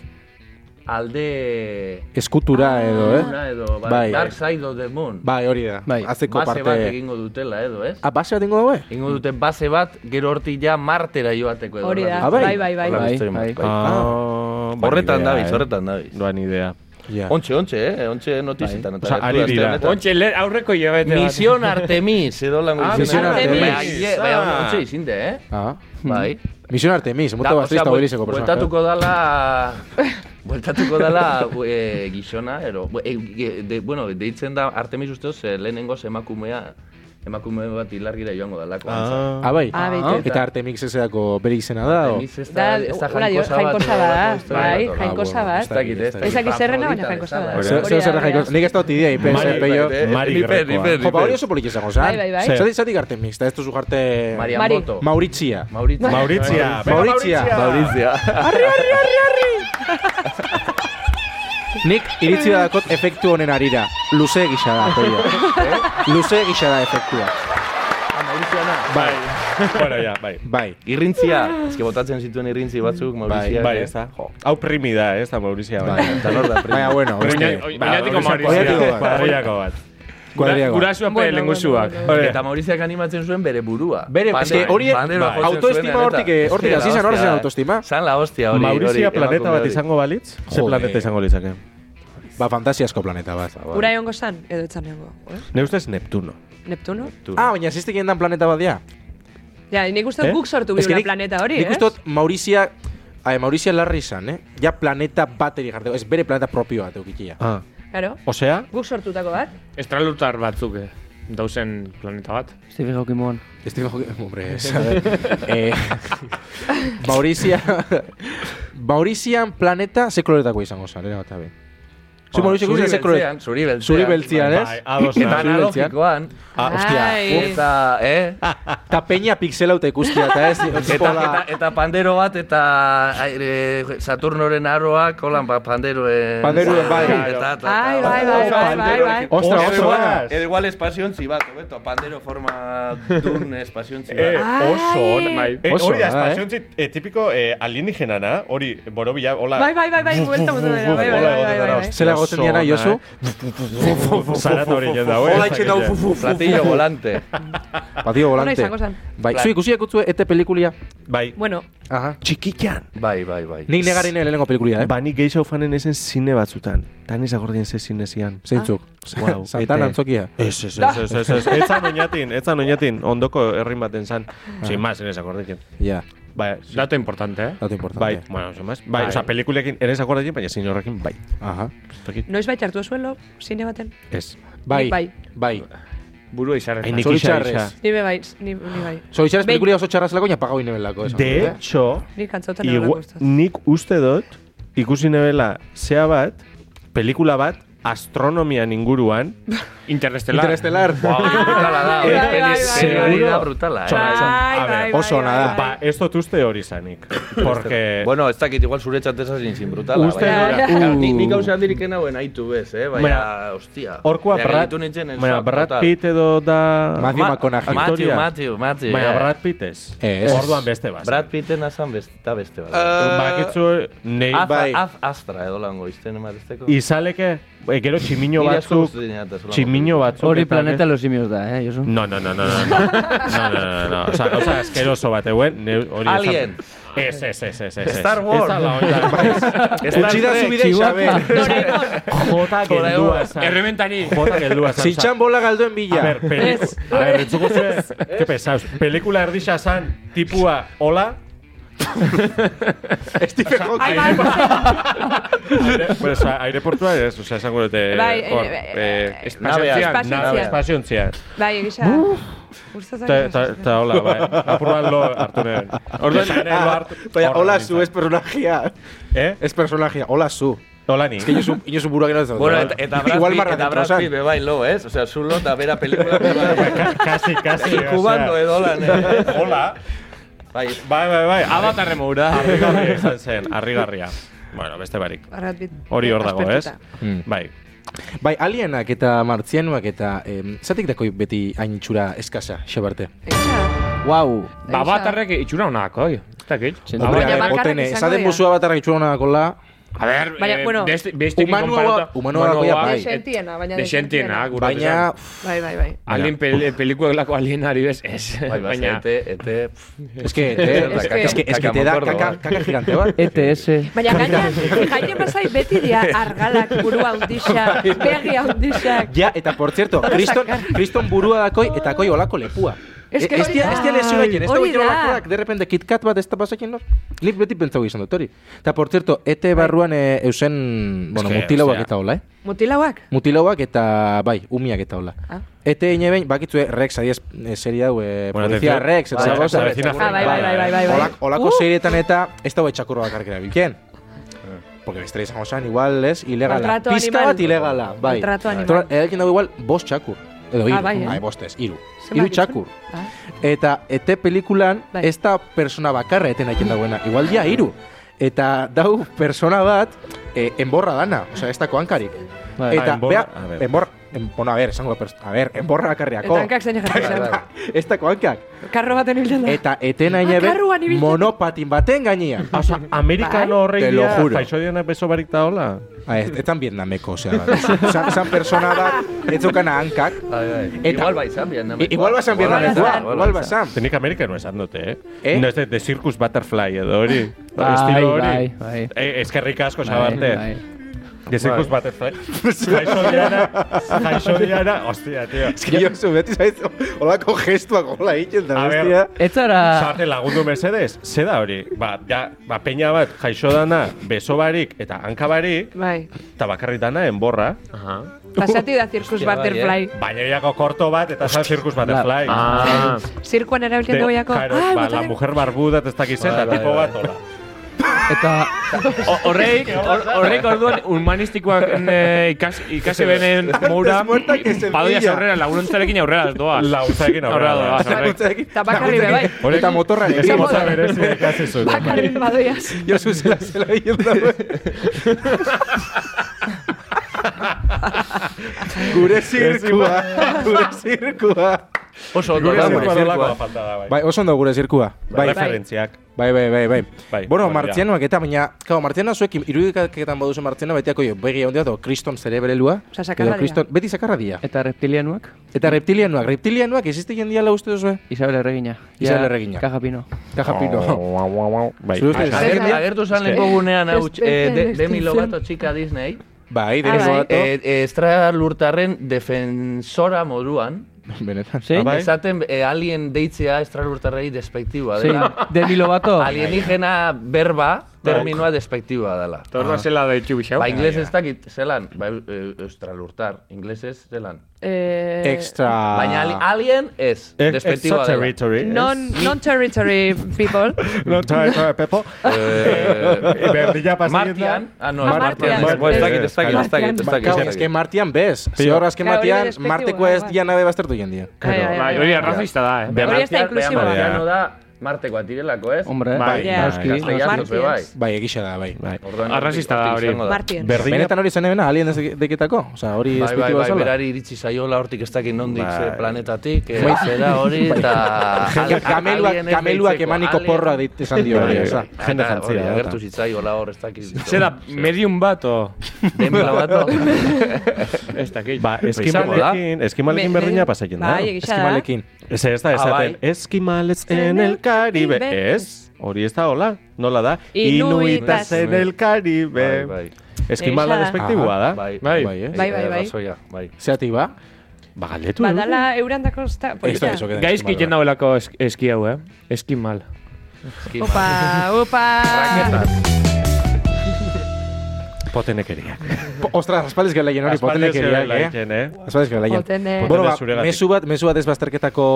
S7: alde...
S2: Eskutura edo,
S7: Una
S2: eh?
S7: edo, bai,
S2: Bai.
S7: Dark Side of the Moon.
S2: Bai, hori da.
S4: Bai.
S2: Atzeko
S7: base bat
S2: parte...
S7: egingo dutela edo, eh, ez?
S2: Ah, base bat ingo dago, eh?
S7: Ingo dute base bat, gero hortik ja martera joateko edo.
S3: Hori da,
S2: Ah, bai.
S3: bai, bai, bai.
S7: Hola,
S4: Bai,
S7: historia
S4: bai.
S7: bat, bai.
S1: Ah,
S7: Horretan
S5: eh.
S7: dabiz, horretan dabiz.
S1: Doan idea.
S2: Ja.
S7: Ontxe, ontxe, eh? Ontxe notizetan. eta
S1: Osea,
S7: gertu
S1: ari
S7: da, aste
S1: dira.
S7: honetan.
S5: Ontxe, le- aurreko hilabete bat.
S7: Misión Artemis, edo lan
S1: Ah,
S7: guzti.
S2: Misión Artemis.
S7: Bai,
S1: Ah.
S7: ontxe izinde, eh?
S2: Ah.
S7: Bai.
S2: Misión Artemis, muta bazteizta hoberizeko personaje.
S7: bueltatuko dala... Bueltatuko dala eh, gizona, ero... bu- eh, ge- de, bueno, deitzen da Artemis usteoz eh, lehenengo emakumea... Emakume bat hilargira joango dalako. antza.
S2: Ah, bai.
S3: Ah, beitu.
S2: Eta Artemix ezerako bere izena da, o?
S7: Artemis ez
S3: Da,
S7: ez
S3: hola, dio,
S7: jainkosa bat,
S1: eh.
S3: jainkosa
S7: edo
S3: da, bai,
S7: halako historia bat,
S2: Ah,
S7: horrela.
S3: jainkosa
S2: bueno,
S3: bat.
S2: ez dakit, ez dakit.
S3: Ez dakit zer dena, baina
S7: Afrodita
S3: jainkosa
S7: bezala.
S3: da.
S2: Zer-
S3: Hori
S2: Zer
S3: da,
S2: zer
S3: hori da.
S2: jaiko, nik ez dut idea, ipen
S1: Mari-
S2: zer peio.
S1: eh, Mari
S7: Ni perri,
S1: Grecoa.
S7: perri,
S2: Jo, ba hori
S7: perri.
S2: oso politxe zango zan.
S3: Bai, bai, bai.
S2: Zatik zatik Artemix, eta ez duzu jarte...
S7: Maria
S3: Mari.
S7: Moto.
S2: Mauritzia.
S7: Maurizia.
S1: Mauritzia.
S2: Venga, Mauritzia.
S7: Maurizia.
S2: Nik iritzi badakot efektu honen arira. Luze gisa da, peio. Luze gisa da efektua.
S1: Bai. bueno, ja, bai.
S2: Bai.
S7: Irrintzia. Ez que botatzen zituen irrintzi batzuk, Maurizia.
S1: Bai, ez da. Hau primi da, ez da, Maurizia.
S2: Bai.
S1: Bai.
S7: Eta nor da, primo.
S2: Baina, bueno,
S5: Oña-
S2: beste.
S5: Oña- Oñatiko
S2: Oñatiko
S5: Maurizia.
S2: bat.
S1: Kuadriako bat.
S2: Kuadriago.
S5: Gurasua pe
S3: Bueno,
S5: lengusuak.
S3: bueno,
S1: Hore.
S7: Eta Mauriziak animatzen zuen bere burua.
S2: Bere-
S7: Bandera-
S2: eske hori-
S7: bandera
S1: bai.
S7: jotzen
S2: Autoestima
S7: zuenean,
S2: hortik-
S7: eta-
S2: hortik
S7: Hostia,
S2: hasi zen, hor
S7: hostia.
S2: zen autoestima.
S7: Zan la hostia hori.
S1: Maurizia
S7: hori,
S1: planeta
S7: emakume
S1: bat
S7: hori.
S1: izango balitz? Ze
S2: Joder.
S1: planeta izango litzake?
S2: Ba, fantasiasko planeta bat.
S3: Ura egongo zan, edo etzan egongo. eh?
S1: Ne ustez Neptuno.
S3: Neptuno?
S2: Ah, baina ziztik dan planeta bat dia.
S3: Ja, nik uste dut
S1: Eh?
S3: guk sortu
S2: Ez que
S3: biula
S2: nik-
S3: planeta hori,
S2: Nik
S3: eh?
S2: uste dut Maurizia... Ae, Maurizia larri izan, eh? Ja planeta bateri jarteko, ez bere planeta propio bat eukitia.
S1: Ah.
S3: Claro.
S1: Osea,
S3: Guk sortutako bat.
S5: Estralutar batzuk, eh. Dauzen planeta bat.
S4: Stephen Hawking moan.
S2: Stephen Hawking, hombre, es, a ver. eh, Maurizia... Maurizian planeta ze koloretako izango zan, era bat, abe. Zumor horiek ikusi
S7: Zuri
S2: zekro.
S7: beltzean, zuri beltzean.
S2: Zuri beltzean,
S1: Bai,
S2: ez?
S1: ados
S7: Eta
S1: nago.
S7: analogikoan.
S2: Ah, ostia.
S3: Ai.
S7: Eta, eh?
S4: Ah.
S2: Ta peña pixela uta ikustia, eta ez?
S7: Eta, eta, eta pandero bat, eta ai, eh, Saturnoren aroak, holan, pa, panderoen...
S2: Panderoen, bai.
S7: Eta, eta,
S3: Ai, bai, bai, bai, bai, bai.
S2: Ostra,
S7: Edo
S2: oso
S7: igual-
S2: buenas.
S7: edo igual espaziontzi bat, hobeto, pandero forma dun espaziontzi
S1: Eh,
S7: bat.
S5: Oso, on, bai.
S1: Eh,
S2: Oso,
S1: hori da,
S2: ah,
S1: espaziontzi eh, tipiko eh, alienígenana, hori, borobila, hola.
S3: Bai, bai, bai, bai, buelta
S1: buf,
S3: mundu dela, bai,
S1: buf,
S3: bai,
S1: hola
S3: bai,
S1: egoten
S3: bai,
S1: dara,
S3: bai.
S2: Zela goten diana, Josu?
S1: Zarata hori jendau, eh?
S7: Platillo volante.
S2: Patio volante.
S3: izango zen.
S2: Bai, zu ikusi ekutzu ete pelikulia?
S1: Bai.
S3: Bueno,
S2: Aha.
S9: Txikikian.
S7: Bai, bai, bai.
S2: Nik negaren lehenengo pelikulia, eh?
S9: Ba, nik gehiago fanen ezen zine batzutan. Tan izagordien ze zinezian.
S2: Zeintzuk.
S9: Wow,
S2: Santan
S9: ete.
S2: antzokia.
S9: Ez, ez,
S1: Ez, ez, ez, ez, ez zan oinatin, ez zan oinatin, ondoko herrin baten zan. Sin más, en esa cordekin.
S2: Ja,
S1: Ah. Bai, sin-
S5: Dato importante, eh?
S2: dato
S1: bai,
S2: importante.
S1: bueno, sin más. Bai, oza, pelikulekin, en esa cordekin, baina sin horrekin, bai.
S2: Aha.
S3: noiz bai hartu zuelo, zine baten.
S1: Ez.
S2: Bai,
S3: Nik bai.
S2: bai.
S5: Burua izarretan.
S1: Nik
S2: Zoritxarrez.
S1: isa, isa.
S3: Ni be bai, ni, ni bai.
S2: Zoritxarrez
S3: Behin-
S2: pelikulia oso txarraz lako, baina pagau inen lako.
S9: De hecho,
S3: Ni kantzautan
S9: igua-
S3: egon gustaz.
S9: nik uste dut, ikusi nebela zea bat, pelikula bat, astronomian inguruan,
S5: Interestelar.
S2: Interestelar.
S7: Brutala
S1: Ah,
S7: da,
S3: Bai,
S7: hori
S3: bai, bai,
S7: peli-
S9: bai.
S7: da brutala, eh?
S3: Bai, bai, bai,
S2: oso
S3: bai,
S2: ona da.
S3: bai.
S1: Ba, ez dut uste hori zanik. Porque...
S7: Bueno, ez dakit igual zuretzat ez hasi zin brutala.
S2: Uste
S7: baina-
S3: dut-
S1: Uh.
S7: Claro, Nik nik gauza handirik nauen aitu bez, eh? Baina,
S1: Baina,
S7: ostia.
S1: Horkoa
S7: Ja,
S1: Brad,
S7: gelditu nintzen, ez
S1: baina
S7: zan,
S1: Brad
S7: brutal.
S1: Pitt edo da...
S2: Matthew
S7: Ma-
S2: McConaughey.
S7: Matthew,
S1: Aktorea.
S7: Matthew, Matthew.
S1: Baina
S7: eh.
S1: Brad Pitt ez.
S2: Ez.
S1: Orduan beste bat. Eh,
S7: Brad Pitten azan beste, eta beste bat.
S1: Bakitzu, nei
S7: Aza-
S1: Eh, bai.
S7: az- Aztra edo lango eh, izten ematezteko.
S1: Izaleke, eh, gero tximino
S7: Nire asko
S1: batzuk,
S7: gustu dinat ez holako
S1: tximino batzuk.
S4: Hori
S1: eta-
S4: planeta los simios da, eh, Josu?
S1: No, no, no, no, no, no, no, no, no, no, o sea, o sea, asqueroso bat, eguen, ne- hori esan-
S7: Alien.
S1: Ez, ez, ez, ez, ez, ez.
S7: Star Wars.
S1: Ez da la onda.
S7: Star
S2: Utsi da
S7: Trek,
S2: zubide Isabel.
S1: Jota geldua zan.
S5: Errementari.
S1: Jota geldua zan.
S2: Zintxan bola galduen
S1: A
S2: bila.
S1: ver, peliku- A ver, entzuko zuen, que pesaos. Pelikula erdixa zan, tipua, hola,
S2: Stephen Hawking.
S3: Ai, bai,
S1: Bueno, oza, aireportua ez, oza, esango dute...
S3: Bai, eh,
S1: hor,
S3: eh,
S1: eh,
S7: nabea.
S1: espaziontzian, nabea,
S3: Espaziontzian.
S1: espaziontzian.
S3: bai, egisa. Gustaz
S1: Ta, ta, ta hola, bai. Apur bat lo hartu nuen. Orduan, nire lo hartu...
S2: Bai,
S1: hor
S2: Baina, Ah, hola
S1: nintzen.
S2: zu, es personajia.
S1: Eh?
S2: Es personajia, hola zu.
S1: Hola ni.
S2: Es que inozu, inozu burua gero ez dut.
S7: Bueno, eta, eta Brad
S2: Igual
S7: Pitt,
S2: marra
S7: eta Brad
S2: retrosan.
S7: Pitt bebai lo, ez? Osea, zulo eta bera pelikula bebai.
S1: Kasi, kasi. o sea,
S7: Kubando edo lan, eh?
S1: Hola.
S7: Bai,
S1: Bai, bai, bai.
S5: Avatar remoura.
S1: Arrigarria izan zen, arrigarria. Bueno, beste barik. Hori hor dago, ez? Bai.
S7: eh.
S2: Bai, alienak eta martzianuak eta em, zatik dako beti hain txura eskasa, xabarte.
S3: Egisa.
S2: Wow.
S5: Ba, Avatarrek itxura honak, oi. Ez dakit.
S2: Hombre,
S3: baina bakarrak
S2: potene,
S3: izango
S2: esaten
S3: dira.
S2: buzua batarra itxura honako la.
S5: A ber,
S3: Baina,
S5: eh,
S3: bueno,
S5: beste, bestekin
S2: humanua-
S5: konparatuta-
S2: humanua gakoia bai.
S3: Dexentiena, baina
S5: Desentiena,
S3: dexentiena.
S5: gure
S2: Baina,
S3: Bai, bai, bai.
S5: Alien pel, eh, pelikuelako alienari bez, ez.
S7: bai, bai,
S5: Baina,
S7: ete, ete... pff,
S2: es que, te,
S3: Es
S2: es
S3: que-
S2: que, es que, te da
S7: Cacamoncordo,
S2: caca,
S7: eh.
S2: caca gigante bat.
S4: E ETS.
S3: Baina gainean, jaine pasai beti dia argalak, burua hundixa, begi hundixak.
S2: Ja, eta por cierto, kriston, kriston burua dakoi, eta koi olako lepua.
S3: Es que
S2: E-
S3: hori da.
S2: ez dia lezio egin, ez da
S3: Hori
S2: baitu
S3: da.
S2: olakoak, de repente Kit Kat bat ez da pasakin nor. Nik beti pentsau izan dut hori. Eta, por cierto,
S3: Bai.
S2: ete barruan e, eusen, bueno,
S1: que,
S2: mutilauak
S1: ostia.
S2: eta hola, eh?
S3: Mutilauak?
S2: Mutilauak eta, bai, umiak eta hola.
S3: Ah.
S2: Ete ine behin, bakitzue, Rex, adiez, eh, serie hau, eh, polizia
S1: atención.
S2: Rex, eta
S1: Bai,
S2: zagoz.
S1: la vecina
S3: Ah, bai, bai,
S1: Fernanda.
S3: bai, bai, bai.
S2: Olak, olako
S3: Uh!
S2: seirietan eta ez dago etxakurro bakarrik erabiltzen.
S1: Eh.
S2: Porque beste izango zen, igual, ez, ilegala.
S3: Maltrato
S2: Pizka
S3: animal.
S2: bat ilegala, bai.
S3: Maltrato animal.
S2: Eta Erabiltzen dago igual, bost txakur. Edo iru,
S3: Ah, bai, eh.
S2: bai, bost ez, iru.
S3: Zenbat
S2: Iru
S3: dizu?
S2: txakur.
S3: Ah.
S2: Eta ete pelikulan,
S3: Bai.
S2: ez da persona bakarra eten aiken dagoena. Igual dia iru. Eta dau persona bat, eh, enborra dana. Osea, ez dako hankarik.
S4: Bai.
S2: Eta,
S1: Ah, enborra,
S2: bea,
S1: a ver.
S2: enborra, en, bueno, a ver, esango, pers- a ver, enborra bakarriako.
S3: Eta hankak zein jartzen.
S2: Ez dako hankak.
S3: Karro baten hilden da.
S2: bai, Eta etena
S3: Ah,
S2: ine
S3: karruan
S2: ben
S3: ibiltzen.
S2: monopatin baten gainean.
S1: Osa, amerikano horrek
S2: Te lo
S1: dira,
S2: juro.
S1: faixo dianak beso barik da hola.
S2: Ah, ez, etzan vietnameko, osea, ba. bat. Zan, zan persona bat, ez zukana hankak.
S7: Bai, bai.
S2: Eta-
S7: Igual bai, zan Vietnamekoa.
S2: I- Ba, Igual basan vietnamekoa, igual basan.
S1: Tenik amerikano esan dute, eh?
S2: Eh?
S1: No, ez de, de Circus Butterfly edo hori.
S4: Bai,
S1: Estilo hori.
S4: bai, bai.
S1: Eh, eskerrik asko,
S4: Bai,
S1: xabarte.
S4: bai.
S1: De Circus Butterfly. Jaixo diana, jaixo diana, hostia, tío.
S2: Ez que jozu, beti zaiz, holako gestuak hola egiten da,
S1: A ber.
S2: bestia.
S4: Ez zara...
S1: Zarte lagundu mesedez, ze da hori? Ba, ja, ba, peña bat, jaixo dana, beso barik eta hanka barik,
S3: Bai.
S1: eta bakarrik dana enborra.
S3: Pasati da Circus
S7: Hostia, bai,
S3: Butterfly.
S1: Baina iako korto bat, eta zan Circus Butterfly.
S5: Ah,
S3: Zirkuan erabiltzen dugu jako.
S1: claro,
S3: Ah,
S1: ba, la
S3: botaren-
S1: mujer barbuda, eta ez dakiz, eta tipo bat, hola.
S4: Eta
S5: O- Horreik, hor- horreik orduan humanistikoak eh, ikas- ikasi benen moura padoia aurrera laguntzarekin aurrera doaz.
S9: Laguntzarekin aurrera
S5: aurrera doaz. horrek.
S3: Eta bakarri be, bai.
S2: Eta motorra
S9: Esa
S2: egin.
S9: mota berezia ikasi zuten.
S3: Bakarri badoiaz.
S2: Jo zuzela zela egin dago. Gure zirkua, gure zirkua.
S7: Oso ondo
S9: Gure
S7: dago,
S9: zirkua
S7: zirkua.
S9: dolakoa falta da, bai.
S2: Bai, oso ondo gure zirkua. Bai,
S9: Referentziak.
S2: bai, bai, bai, bai.
S9: Bai,
S2: bueno,
S9: hori da.
S2: martzianoak eta baina, claro, martzianoa zuek irudikaketan baduzu martzianoa betiako jo, begi handia edo kriston zerebelelua.
S3: Osea, sakarra
S2: edo kriston- Beti sakarra dia.
S4: eta reptilianuak,
S2: Eta reptilianoak, reptilianoak existien diala uste duzu,
S4: Isabel Erregina.
S2: Isabel Erregina.
S4: Kaja Pino.
S2: Kaja
S9: Oh.
S2: pino.
S9: Bai.
S2: Zure ustez-
S7: Ager- Agertu zan lehenko gunean hau, eh, de- Demi Lovato txika Disney.
S2: Bai,
S3: Ah,
S2: deniz
S3: bai.
S2: bogato.
S7: Eh, eh, Estra lurtarren defensora moduan.
S2: Benetan.
S4: Zein?
S9: Bai.
S7: Esaten eh, alien deitzea estra lurtarrei despektiba
S4: Zein?
S7: dela.
S4: Demi Lovato.
S7: Alienígena berba, terminoa despektiba dela.
S5: Eta
S1: Ah.
S5: orduan zela da itxu bixau.
S7: Ba, inglés ez dakit, zelan, ba, eu- eustralurtar, inglés ez, zelan.
S3: Eh,
S2: Extra.
S7: Baina ali-
S3: ah,
S7: alien ez,
S9: Eh,
S7: despektiba dela.
S9: extraterritorial.
S3: Non, non-territory people.
S9: No, trae, trae, Pepo. Eh, Berdina pasilla.
S7: Martian, ah, no,
S3: Ah,
S7: ez Martian.
S3: Martian.
S7: ez.
S3: Ez
S9: dakit, ez dakit, ez
S3: dakit, ez
S2: Ba, claro, es que Martian bez. Zior azken
S3: Claro, hori da
S2: batean,
S3: despektiboa,
S2: Marteko ez
S3: bai.
S2: dia nabe baztertu jendia.
S3: Ai, ai,
S5: Bai,
S3: ai.
S5: hori arrazoista da, eh.
S3: Hori ez da inklusiboa.
S9: Berrantia-
S7: Martiano da Martekoa direlako, ez?
S4: Hombre,
S5: Bai,
S3: Ja.
S4: noski.
S7: Castellanos, be bai.
S3: Martians.
S2: Bai, egisa da, bai.
S9: Bai.
S7: Orduan,
S5: Arrazista da hori.
S7: izango
S3: Martien.
S9: Berdina
S2: Benetan hori zen ebena, alien ez dekitako. Osa, hori
S7: Bai, bai,
S2: espektiboa
S7: bai,
S2: zela.
S7: berari iritsi zaiola hortik ez dakit nondik
S9: Bai.
S7: ze planetatik, eh, zera hori, eta...
S2: Ga- Kameluak, kameluak emaniko porroa dit esan dio hori, osa.
S7: Jende
S9: Jende
S7: jantzia.
S9: jantzia,
S7: Ah, Hori,
S9: da.
S7: agertu zitzaiola hor, ez dakit.
S5: Zera, medium bat o...
S7: Demi Lovato.
S5: Ez dakit.
S9: Ba,
S7: Izango da.
S9: eskimalekin, eskimalekin berdina pasatzen da.
S3: Bai, egisa da.
S2: Eskimalekin.
S9: Ez ez da,
S7: bai.
S9: esaten, eskimales en el Caribe. Ez, hori ez da, hola, nola da?
S3: Inuitas.
S9: Inuitas en el Caribe.
S7: Bai,
S9: Eskimala
S3: Egisa da.
S9: despektiboa da.
S7: bai.
S5: Bai.
S2: Bai, eh?
S3: Bai, bai, bai.
S7: Basoia, bai.
S2: Zeatik ba?
S9: Ba, galdetu. eh?
S3: Badala eurandako sta...
S2: Ez da,
S3: polita.
S2: eso que den
S5: Gaizki
S2: eskimala.
S5: jen dauelako esk- eski hau, eh. Eski mal.
S7: Eski-
S3: Opa, opa.
S9: Potenekeria.
S2: Po- Ostras, aspaldiz gelaien hori,
S9: Aspaldiz
S2: potenekeriak,
S9: gelaien,
S2: eh?
S9: eh?
S2: Aspaldiz gelaien.
S3: Potene.
S2: Bueno, ba,
S9: Zuregatik.
S2: mesu bat, mesu bat ez bazterketako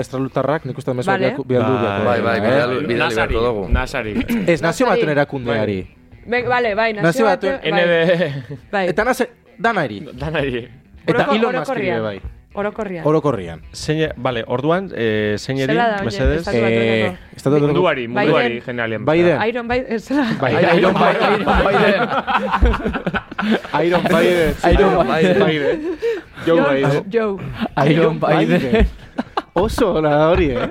S2: estralutarrak, nik uste mesu bat
S3: Vale.
S2: bialdu bialdu.
S7: Bai, bai,
S2: eh?
S7: bidali bidali
S5: Nasari,
S7: beharko dugu.
S5: Nasari.
S2: Ez, nazio batuen erakundeari.
S3: Bek, Bale, bai,
S2: Nazio
S3: nazio batu.
S2: batuen-
S3: Bai,
S5: NB...
S3: bai.
S2: Eta naze, danari.
S5: E. Danari.
S2: Eta
S3: Oroko-
S2: Elon Musk ere
S3: orokorrean.
S2: bai.
S3: Orokorrean.
S2: Orokorrian.
S9: Zeine, vale, orduan, eh, zeineri,
S3: Zela da, oie,
S9: mesedez,
S3: Estatu
S2: Eh,
S3: Batuetako.
S2: estatu batuetako-
S5: Munduari, munduari
S3: Biden.
S5: generalien.
S2: Biden.
S3: Iron Biden, ez da.
S2: Bai,
S7: Iron
S2: Iron
S7: Biden,
S2: Biden. Iron Biden.
S7: Iron Bai. Biden.
S2: Joe Biden.
S3: Joe.
S4: Iron
S2: Bai,
S4: Biden.
S2: Oso ona da hori, eh?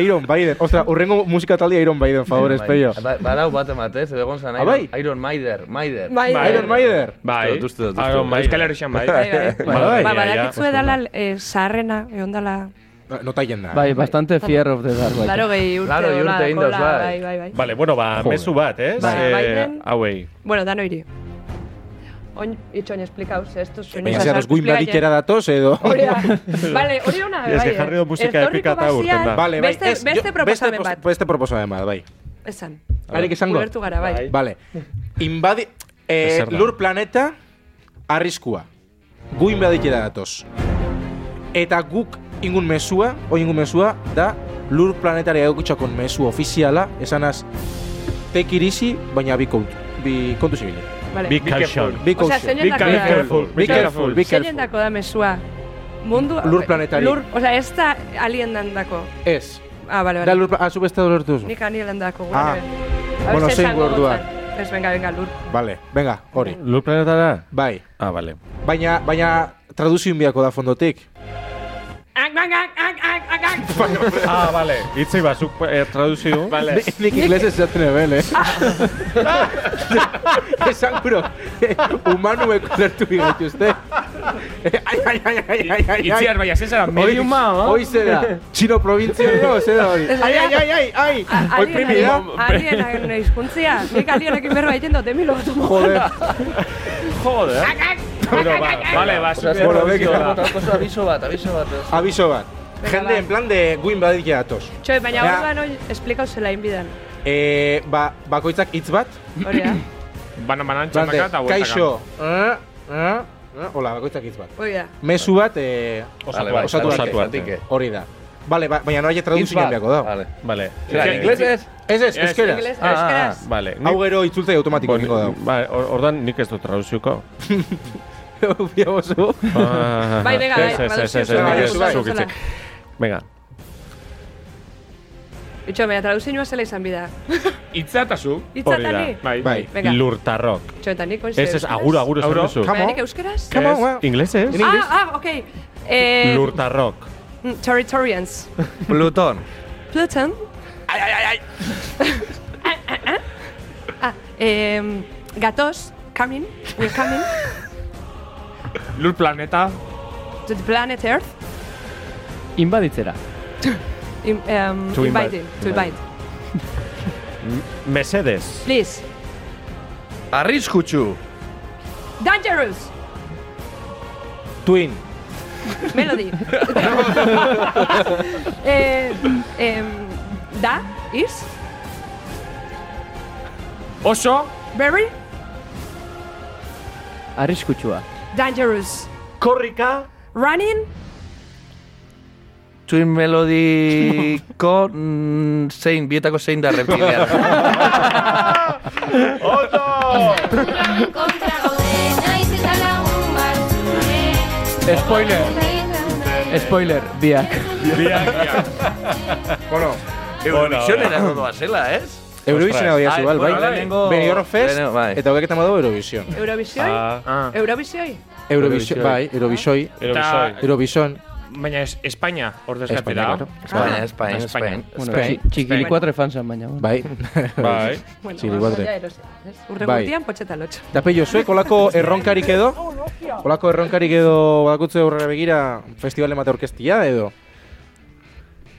S2: Iron Biden. Ostra, urrengo musika talde Iron Biden, favorez, peio.
S7: Ba- Badau bat ematez, egon zan,
S2: Ah, bai?
S7: Iron, Iron Maider, Maider.
S3: Biden.
S2: Iron Biden.
S5: Bai.
S7: Uste dut, uste dut, uste
S5: Iron
S7: dut.
S5: Maiden. Euskal Herrian bai.
S3: Bai, bai.
S9: Bai,
S3: Ba,
S9: ja, ja.
S3: badakitzu edala eh, zaharrena, egon dala,
S2: Nota jenda.
S4: Bai, bastante fier of the dark. bai.
S3: laro gehi urte
S7: Laurogei urte
S3: hola,
S7: egin dauz,
S3: hola,
S7: bai.
S3: bai, bai, bai.
S9: Vale, bueno, ba, mezu bat, eh?
S3: Bai,
S9: Ze-
S3: Biden.
S9: Hauei.
S3: Bueno, dano hiri. Oin, itxoin esplikauz, esto soñez
S2: Baina zehatoz guin badikera datoz, edo...
S3: Hori da. Vale, hori ona, bai.
S9: Ez que jarri du musika epika eta urten da.
S2: Vale, bai.
S3: Beste,
S2: ez, jo-
S3: beste proposamen
S2: pos-
S3: bat.
S2: Beste proposamen bat, bai.
S3: Esan.
S2: Harik esango?
S3: Ulertu gara, bai.
S2: Vale. Invadi... Eh,
S9: Ezer da.
S2: lur planeta arriskua. Gu inbadikera datoz. Eta guk ingun mesua, hoi ingun mesua, da lur planetari egokitzakon mesu ofiziala, esanaz, take it easy, baina bi kontu, bi kontu zibili.
S3: Vale.
S9: Big
S5: Be careful.
S9: caution.
S2: Bi
S3: Osea,
S2: caution.
S3: zeinen dako
S5: Be
S3: da.
S5: careful.
S2: Be careful, be
S3: Zeinen
S2: careful.
S3: dako da mesua. Mundu...
S2: Lur planetari.
S3: Lur, osea, ez da alien dandako.
S2: Ez.
S3: Ah, vale,
S2: Da
S3: vale.
S2: lur planetari, beste dolertu duzu.
S3: Nik alien dandako. gure
S2: Ah.
S3: be. A ver,
S2: Bueno,
S3: ze
S2: zein
S3: esango
S2: orduan.
S3: dutzan. Ez, Pues venga, venga, lur.
S2: Vale, venga, hori.
S9: Lur planetara?
S2: Bai.
S9: Ah, vale.
S2: Baina, baina, traduzio inbiako da fondotik.
S3: Ang, ang, ang, ang, ang, ang, ang.
S9: ah, vale. Itzi bazuk eh, traduzio.
S5: Vale.
S2: Nik inglesez esaten ebel, eh? Esan guro, humanuek lertu bigaitu uste. Ai, ai, ai, ai, ai, ai, ai.
S5: Itziar bai, ez zara medium
S2: Hoi- Hoi zera, txino provintzio no, zera hori.
S3: Ez
S2: Ai, ai, ai, ai, ai. Hoi primi da.
S3: Alien, alien, hizkuntzia. Nik alienekin berba egiten dut, emilo bat
S2: Joder.
S5: joder.
S9: Bueno, ba,
S5: Vale, ba,
S7: Osea,
S5: super
S2: Bueno,
S5: erosio
S2: venga.
S5: da.
S7: Botako zu aviso bat, aviso bat. ez.
S2: Aviso bat.
S3: Venga,
S2: Jende,
S3: va.
S2: en plan de guin badikia datoz.
S3: Txoi, baina
S2: Ja.
S3: orduan hori esplikau zela inbidan.
S2: Eh, ba, bakoitzak hitz bat.
S3: Hori da,
S5: Banan banan
S2: Plan de,
S5: txamaka eta bueltaka.
S2: kaixo. Eh, eh, eh, Hola, bakoitzak hitz bat.
S3: hori da.
S2: Mezu bat, eh,
S7: Vale, bai,
S2: osatu
S7: zatike,
S2: arte.
S7: zatike.
S2: Hori da. Vale, ba, baina noia
S7: Hitz
S2: traduzio
S7: bat.
S2: inbiako da.
S7: Vale.
S9: Vale.
S7: Zera,
S5: Itzi-
S7: inglesez?
S2: Ez, ez, euskera.
S3: Inglés,
S7: Ah, ah,
S3: euskaraz.
S9: Vale.
S2: Hau gero itzultei automatiko
S9: Bon,
S2: egingo dau.
S9: ba, or- ordan nik ez dut traduziuko.
S2: Bia bozu.
S9: Ah,
S3: Bai, venga,
S9: ez,
S3: bai,
S9: ez, ez, ez,
S2: bai,
S9: nik ez
S2: bai, bai.
S9: zuk hitzik. Venga.
S3: Itxo, baina traduzinua zela izan bida.
S5: Itza eta zu.
S9: Hori da.
S3: Itzatani?
S5: Bai.
S2: Bai.
S3: Venga.
S9: Lurtarrok.
S3: Itxo, eta nik
S9: Ez, ez, aguro, aguro esan
S5: Aguro.
S9: duzu.
S2: Come
S3: Baina
S2: on.
S3: nik euskaraz?
S2: Come on,
S9: Ez,
S2: well.
S9: Inglesez?
S3: Ah, ah, ok. Eh,
S9: Lurtarrok.
S3: mm, Territorians.
S7: Plutón.
S3: Pluton. Ai, ai, ai, ai. ah, ah, ah. Ah, eh, gatos. Coming. We're coming.
S5: Lur planeta.
S3: To the planet Earth.
S4: Inbaditzera.
S3: In, um,
S9: To invite.
S3: inviting. To invite.
S9: Mesedes.
S3: Please.
S7: Arriskutsu.
S3: Dangerous.
S2: Twin.
S3: Melody. eh, eh, da. Is.
S5: Oso.
S3: Very.
S4: Arriskutsua.
S3: Dangerous. Korrika. Running.
S7: Twin Melodiko mm, zein, bietako zein da reptilian.
S4: Spoiler. Spoiler, biak.
S7: Eurovisiónera doa zela, ez?
S2: Eurovisiona doia
S7: Ai,
S2: zu, bai.
S7: bueno, lehenengo-
S2: Benidorm Fest,
S7: lehenengo, bai.
S2: eta hogek eta madau Eurovision.
S3: Eurobisioi.
S5: Ah.
S3: Eurobisioi.
S2: Eurovision, bai, Eurovisoi,
S5: Eta,
S2: Eurovision,
S5: baina es, Espainia ordezkate
S2: Espainia,
S5: da.
S2: claro.
S7: España, España, España.
S4: Bueno,
S2: Spain.
S4: txi- txikilikuatre fansan baina. bueno.
S2: bai.
S9: Bai.
S3: Bueno,
S2: Sí, igual
S3: vamos
S2: de-
S3: allá, eros- ez? Urrengo
S2: Bai.
S3: urtean potxetan lotxo.
S2: Eta peio, zuek olako erronkarik edo? Olako erronkarik edo badakutze aurrera begira festivale mate orkestia edo?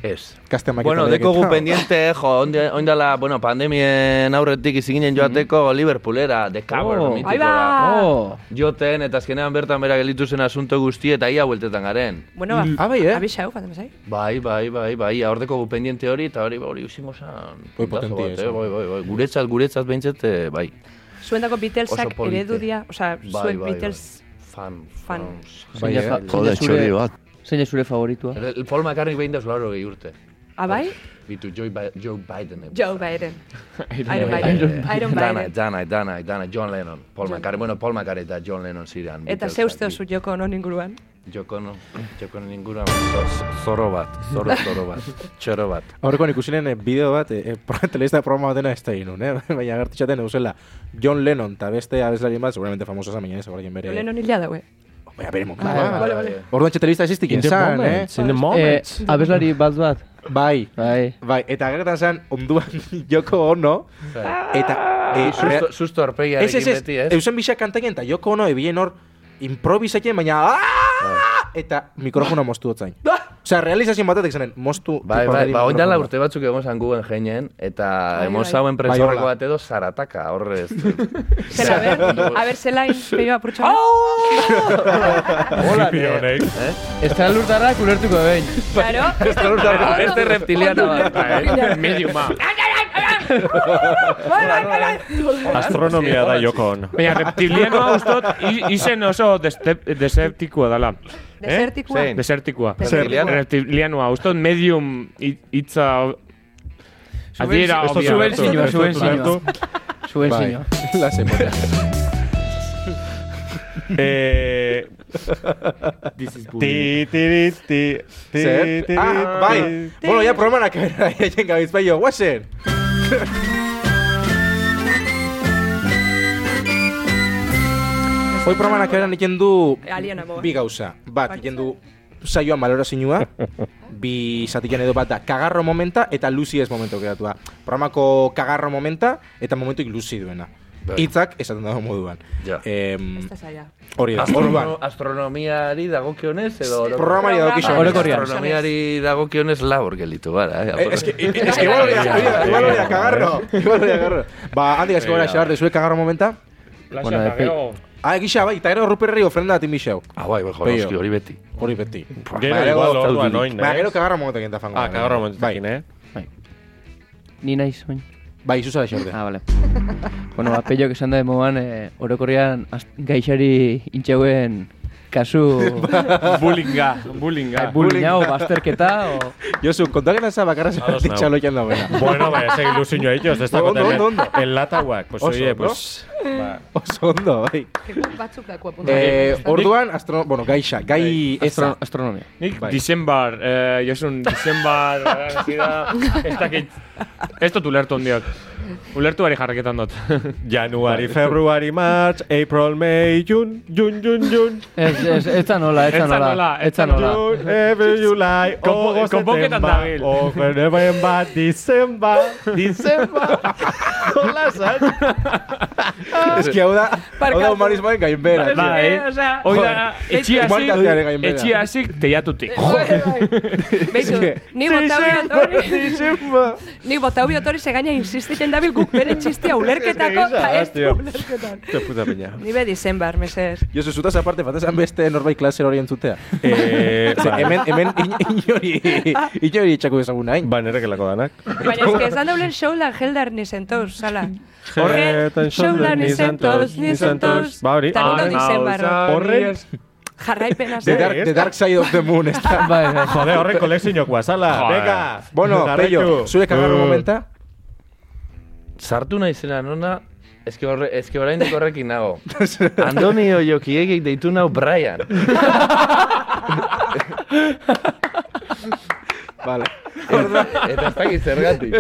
S7: Ez.
S2: Gazte maketa
S7: Bueno,
S2: lehiaketa.
S7: dekogu pendiente, jo, onde- oindala, bueno, pandemien aurretik iziginen joateko Liverpoolera, The Cover,
S4: Oh.
S7: mitikoa.
S3: Ahí va.
S4: Oh,
S7: Joten, eta azkenean bertan bera gelditu zen asunto guzti, eta ia bueltetan garen.
S3: Bueno, ba.
S2: Ah, bai, eh?
S3: Abixau, fantasma zai.
S7: Bai, bai, bai, bai, aurdeko pendiente hori, eta hori, hori usingo zan.
S2: Oi, potentia
S7: Puntazo bat, eh,
S2: izan.
S7: Bai, bai, bai, guretzat, guretzat behintzat, eh, bai.
S3: Zuendako Beatlesak
S7: Oso polite.
S3: eredu dia, osea,
S7: Bai,
S3: zuek
S7: bai, bai.
S3: Beatles
S7: Fan,
S3: fan.
S7: fan.
S2: Bai,
S4: zein da
S2: eh?
S4: fa- zein da zure,
S8: bat.
S4: zein da zure Eh, favoritua?
S7: El- el Paul McCartney behin dauz lauro gehi urte.
S3: Ah, bai?
S7: Bitu Joe, Bi- Joe Biden.
S3: Joe Biden. Iron
S7: Eh,
S3: Biden. Iron
S7: Dana,
S3: Biden.
S7: Dana, Dana, Dana, John Lennon. Paul McCartney, bueno, Paul McCartney eta John Lennon ziren.
S3: Eta
S7: Beatlesak
S3: ze uste
S7: bi-
S3: oso joko non inguruan?
S7: Joko no, joko no ninguna, zo- zorro bat, zorro, zorro bat, txoro bat.
S2: Aurrekoan ikusi nuen, eh, bideo bat, eh, eh, telebista programa batena ez da inun, eh? baina gertitxaten eusela John Lennon eta beste abeslari bat, seguramente famoso zan, baina ez, horrekin bere...
S3: Jo leheno nila daue.
S2: Baina bere momentu.
S7: Bai,
S4: Vale,
S2: Ah, Orduan txetelista existik
S9: In the
S2: zan, eh?
S9: moments, in the
S4: Eh,
S9: moments.
S4: abeslari bat bat.
S2: Bai,
S4: Bai.
S2: bai, eta gertan zan, onduan joko ono,
S9: Bai.
S2: eta... eh, rea-
S7: Ah, Susto, susto
S2: Ez, ez,
S7: arpegiarekin
S2: ez,
S7: beti, eh. ez?
S2: eusen bisa kantaien eta joko ono ebien hor improvisatzen, baina "Aaah!"
S7: Bai.
S2: eta mikrofono moztu dutzain. Osea, realizazio batetik zenen, moztu...
S7: Ah! Bai,
S2: tipo,
S7: bai,
S2: niri
S7: ba, oin dala
S2: mikrofono.
S7: urte batzuk egon zan guen jeinen, eta
S3: Bai,
S7: emon
S3: bai.
S7: zauen
S2: Bai,
S7: presorreko
S2: hola. Bai,
S7: bat edo zarataka, horrez.
S3: Zela, a ber, a ber, zelain, peio apurtxo.
S5: Oh!
S7: Hola,
S9: Hippie honek.
S4: Estela lurtarrak ulertuko behin.
S3: Claro.
S7: Beste reptiliano bat.
S5: Bai. Mediuma.
S1: ¿eh?
S9: Astronomia da joko on.
S5: Baina reptilianoa ustot i- izen oso destep- deseptikoa dela.
S3: Desertikua.
S7: Zein?
S5: Desertikoa.
S7: Reptiliano.
S5: Reptilianoa. Ustot medium hi- hitza... Adiera,
S9: Esto
S5: obvia.
S9: zuen
S4: Zuen zinua, zuen
S9: zinua.
S4: zinua. Zuen zinua.
S2: Bai, la semana.
S9: Eh, ti, ti, ti, ti,
S2: Zer?
S9: ti,
S2: Ah,
S9: ti,
S2: bai. Bueno, ya programanak bera, egin gabiz, bai, jo, guazen. Hoi programanak bera egiten du
S3: Aliena moa.
S2: bi gauza. Ba, Bat, egiten du saioan balorazinua, bi zatikan edo bat da kagarro momenta eta luzi ez momento geratua. Programako kagarro momenta eta momentuik luzi duena.
S7: Bai.
S2: Hitzak esaten dago moduan.
S7: Ja.
S2: Em,
S3: Ez da zaila.
S2: hori da, orduan.
S7: Astrono, astronomiari dagokionez edo oro-
S2: Programari dagokizun.
S4: Orokorrean.
S7: Astronomiari dagokionez labor gelditu gara, eh?
S2: Eh, Es que, es que igual lo voy a- igual- igual lo voy a cagarro. Igual lo voy a cagarro. Ba, handik asko gara xabar, dezuek kagarro momenta.
S4: Bueno,
S5: Plaza,
S4: epe-
S5: gero...
S2: Ah, egisa, bai, eta gero ruperri ofrenda datin biseu.
S7: Ah, bai, bai, jo,
S2: Peio.
S7: noski, hori beti.
S2: Hori beti.
S9: Gero
S2: Baina
S9: igual
S2: gero-
S9: orduan oin,
S2: Baina gero
S9: eh?
S2: kagarro momenta egin da fango.
S9: Ah, kagarro momentakin, eh?
S4: Ni naiz, oin.
S2: Bai, zuza desorde.
S4: Ah, vale. bueno, apelok esan da emoan, eh, orokorrean az- gaixari intxeuen Kasu
S2: Bai.
S5: Bullinga, bullinga.
S4: bulinau, bazterketa, o...
S2: Josu, kontakena eza bakarra
S1: Ados
S2: zeratik
S1: nau.
S2: txaloian dagoena.
S1: Bueno, bai, ze ilusioa ellos, ez dago
S2: Ondo, ondo, ondo.
S1: enlataguak. Pues
S2: Oso,
S1: oye,
S2: no?
S1: pues... Ba.
S2: Oso ondo, bai.
S3: batzuk dako apuntu.
S2: Eh, orduan, astro... Bueno, gaixa, gai eza.
S4: astro- astronomia.
S5: Nik
S2: Bai.
S5: December, eh, Josun, December, hasi da, ez dakit. Ez dut ulertu ondiak. Ulertu bari jarraketan dut.
S1: Januari, Februari, March, April, May, June, June, June, June,
S4: Ez, ez, ez zan nola, ez
S5: Ez
S4: zan
S5: zan
S4: nola,
S5: nola,
S4: ez zan nola.
S1: June, every July,
S5: Konpo-
S1: August,
S5: konponketan
S1: September,
S5: dabil.
S1: October, November, December, December. Hola, zan?
S2: Ez que hau da, hau da
S3: Barkatu.
S2: humanismoen gainbera.
S5: Ba,
S2: tio.
S5: eh,
S3: osea,
S5: Hoi da,
S2: este,
S5: etxia
S2: Umartatearen
S5: zik,
S2: gainbera.
S5: etxia zik, teiatutik.
S3: Beitu, ni botau biot hori,
S1: December.
S3: ni botau biot hori, ze gaina insistiten dabil guk bere txistia ulerketako,
S1: Ez que
S3: eta ez
S1: gisa,
S3: du
S1: hostia.
S3: ulerketan.
S1: Te puta peña.
S3: Ni be dizembar, meses.
S2: Josu, zutaz aparte, este, batezan beste norbait klaser hori entzutea.
S1: Eh,
S2: Ze, hemen, hemen in- inori, inori itxako ezagun hain.
S1: Ba, nere gelako danak.
S3: Baina ez que esan daulen showlan heldar nizen toz, sala. Horre,
S1: Jetan
S3: showlan nizen toz, nizen toz.
S1: Ba, hori.
S3: Tanto
S5: Ah,
S3: dizembar.
S1: Horren,
S3: Jarraipena
S2: The
S1: De-
S3: zen.
S2: dark, the dark Side of the Moon, ez da.
S4: Bai, bai.
S1: jode, horren kolekzioak guazala.
S5: Joder.
S1: Venga.
S2: Bueno,
S1: jarraitu.
S2: Peio, zure kagarro
S1: Eh,
S2: momenta?
S7: Sartu nahi zena nona, ezke, horre, ezke oraindik horrekin nago. Antonio Jokiegik deitu nau Brian.
S2: Vale.
S7: Eta eta ez dakit zergatik.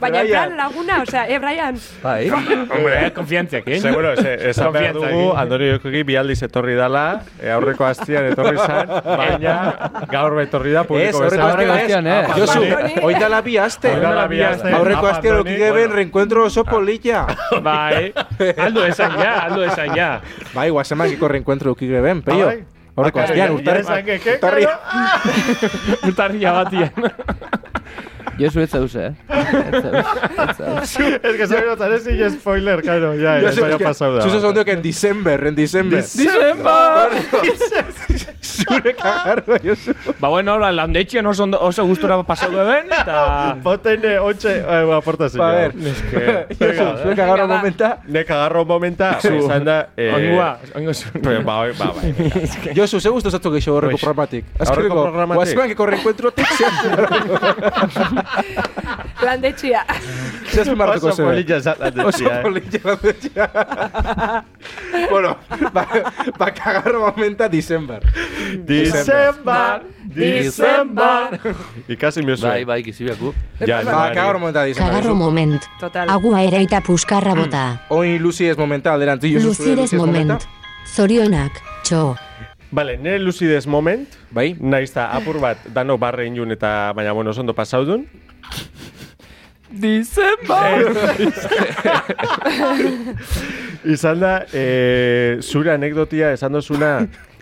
S3: Baina en
S2: Brian.
S3: plan laguna, osea, eh, Brian,
S7: Bai.
S5: Hombre, konfiantziak, eh?
S1: Seguro, ez- esan behar
S5: Konfiantza
S1: dugu,
S5: egin.
S1: Antonio Jokoki bialdiz etorri dala, e, aurreko aztian etorri zan, baina gaur etorri da
S2: Ez,
S1: publiko
S2: aurreko
S1: bezala.
S4: aste-
S2: aztean,
S4: astean,
S2: ez.
S4: eh.
S2: Josu,
S3: Abandoni.
S2: oita labi aste.
S1: Oita labi aste.
S2: Aurreko astean
S1: Abandoni,
S2: okik eben
S1: bueno. Ah.
S2: reencuentro oso polilla.
S5: Bai, eh. aldo esan ja, aldo esan ja.
S2: Bai, guazemakiko reencuentro okik eben, Peio.
S1: Ah, bai.
S2: Aurreko
S1: Ah,
S2: astean,
S1: ya- ya
S2: urtarri.
S1: esan que- que-
S2: urtarri-
S5: Mutarria batian.
S4: Josu ez zauze, eh? Ez zauze.
S1: Es que sabes, no sin spoiler, claro, ya,
S2: Josu,
S1: eso ya
S2: es que-
S1: pasau da.
S2: Josu esan diok en December, en December. Zure kagarro, Josu.
S5: Ba, Ah. bueno, la landetxian oso, ondo- oso gustura pasau duen, eta...
S1: Potene, ontxe, Ah, eh, aporta
S2: Ba, a
S1: señor.
S2: ver.
S1: Es que,
S2: Josu, zure kagarro
S3: Venga, va.
S2: momenta.
S1: Nek agarro momenta, izan da... eh,
S5: Ongua, ongo zuen.
S1: Ba, ba, ba, ba.
S2: Josu, ze guztu zatu gehiago aurreko
S1: Pues,
S2: programatik.
S1: aurreko
S2: Azkerreko,
S1: programatik.
S2: guazemakiko reencuentro tik
S3: landetxia.
S2: zehazpimarratuko
S1: Oso
S2: zebe.
S1: polilla esan da,
S2: Oso
S1: txia, eh.
S2: polilla landetxea. bueno, ba, ba kagarro momenta December.
S1: December, December. Ikasi miozu.
S7: Bai, bai, kizibiaku.
S1: Ja,
S2: Ba, kagarro momenta December.
S10: Kagarro
S2: Josu.
S10: moment.
S3: Total.
S10: Agua ere eta puskar bota.
S2: Oin Lucy ez momenta alderantzi. Josu, Mm. zure
S10: Luzires
S2: Lucy ez momenta.
S10: moment. Zorionak, txo.
S1: Vale, nire lucidez moment,
S2: Bai?
S1: naiz eta apur bat dano barre inun eta baina bueno, oso ondo pasaudun. Eh, Izan da, eh, zure anekdotia esan dozuna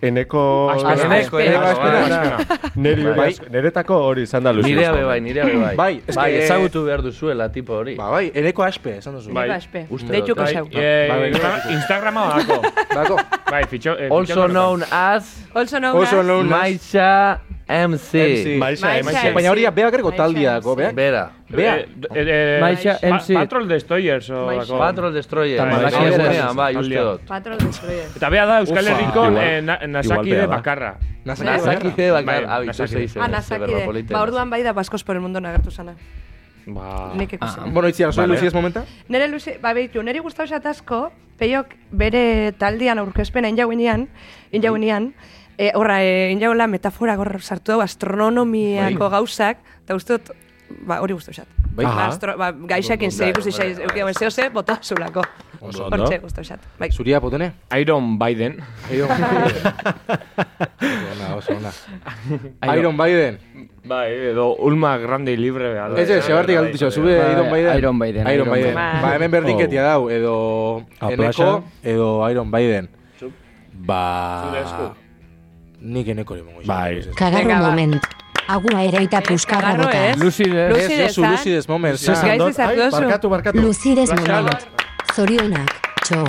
S1: eneko...
S7: Aspena,
S2: Eneko, eneko, aspena.
S1: Neri,
S2: Bai.
S1: asko- Neretako hori izan da lucidez.
S7: Nirea eh. be
S1: moment.
S7: bai, nirea be bai.
S2: Bai, ez
S7: bai,
S2: que-
S7: ezagutu behar duzuela tipo hori.
S2: Ba, bai, eneko aspe, esan duzu.
S5: Bai.
S3: Baspe,
S7: Uste dut,
S3: deituko
S7: bai.
S3: zeu.
S5: Eh,
S2: Bai, bai,
S5: Insta- Instagrama badako.
S2: Bako,
S5: Bai, fitxo... eh,
S7: Also
S5: fitxatu
S7: known as
S3: Also known
S2: oso
S3: as-
S2: non
S7: Maixa MC.
S2: MC.
S1: Maixa,
S3: Maixa,
S1: maixa.
S2: Baina hori beak erreko
S3: Maixa,
S2: taldia dago,
S3: sí.
S2: beak.
S7: Bera.
S2: Bea.
S5: Eh, eh, eh,
S4: Maixa
S5: pa-
S4: MC.
S5: Patrol Destroyers o
S3: Maixa.
S5: dako.
S7: Patrol Destroyer.
S4: Eta
S7: Bai,
S4: Maixa
S7: gunean,
S4: ez.
S7: bai, uste dut.
S3: Patrol destroyer.
S5: Eta bea da Euskal
S2: Ufa.
S5: Herriko
S1: Igual-
S5: eh, na-
S1: igual
S5: Nasakide
S1: bea da.
S5: bakarra.
S2: Nazaki.
S7: Nazakide bakar,
S5: Bai,
S7: abitu
S5: Nazakide.
S7: zeizen.
S3: Ah, nazakide. Ba, orduan bai da Baskos por el mundo nagertu zana.
S1: Ah.
S5: Ba...
S3: Nik ikusi.
S2: Bueno, itziar, zure
S7: Vale.
S2: Lucy ez momenta?
S3: Nere luze, ba, behitu, nere guztau asko, peiok bere taldian aurkezpena injauinean,
S1: Bai.
S3: injauinean, e, horra, e, injaula metafora gorra sartu dago,
S1: Bai.
S3: astronomiako gauzak, eta uste dut, ba, hori guztau xat.
S2: Bai.
S3: Ba, astro, ba, gaixakin zer ikusi xaiz, eukio, zeo ze, bota zulako.
S1: Oso ondo.
S3: Hortxe guztau xat. Bai.
S2: Zuria potene?
S5: Iron Biden.
S2: Iron Ona, oso ona. Iron Biden.
S5: Bai, eh, edo Ulma Grande y Libre. eh, bea da.
S2: Ez ez, ebatik galdu
S5: eh,
S2: dixo, zube
S4: Bai,
S2: Iron Biden.
S4: Iron Maiden,
S2: Iron
S4: Iron
S2: Biden.
S3: Maiden.
S2: Ba, hemen berdinketia dau, edo Eneko,
S1: Aplaxa.
S2: edo Iron Biden. Ba... Nik eneko limo
S1: Bai.
S10: Kagarro
S3: Venga, va.
S10: moment. Agua ere eta puskar
S3: Kagarro,
S10: bota.
S3: ez?
S4: Luzide.
S2: Ez,
S3: Lucidez,
S2: Josu,
S3: ah?
S2: lucidez, moment,
S3: Lucidez.
S2: zan.
S3: Gaiz izak
S1: Ai,
S3: duzu.
S1: Barkatu, barkatu.
S10: Luzires moment. Zorionak, txo.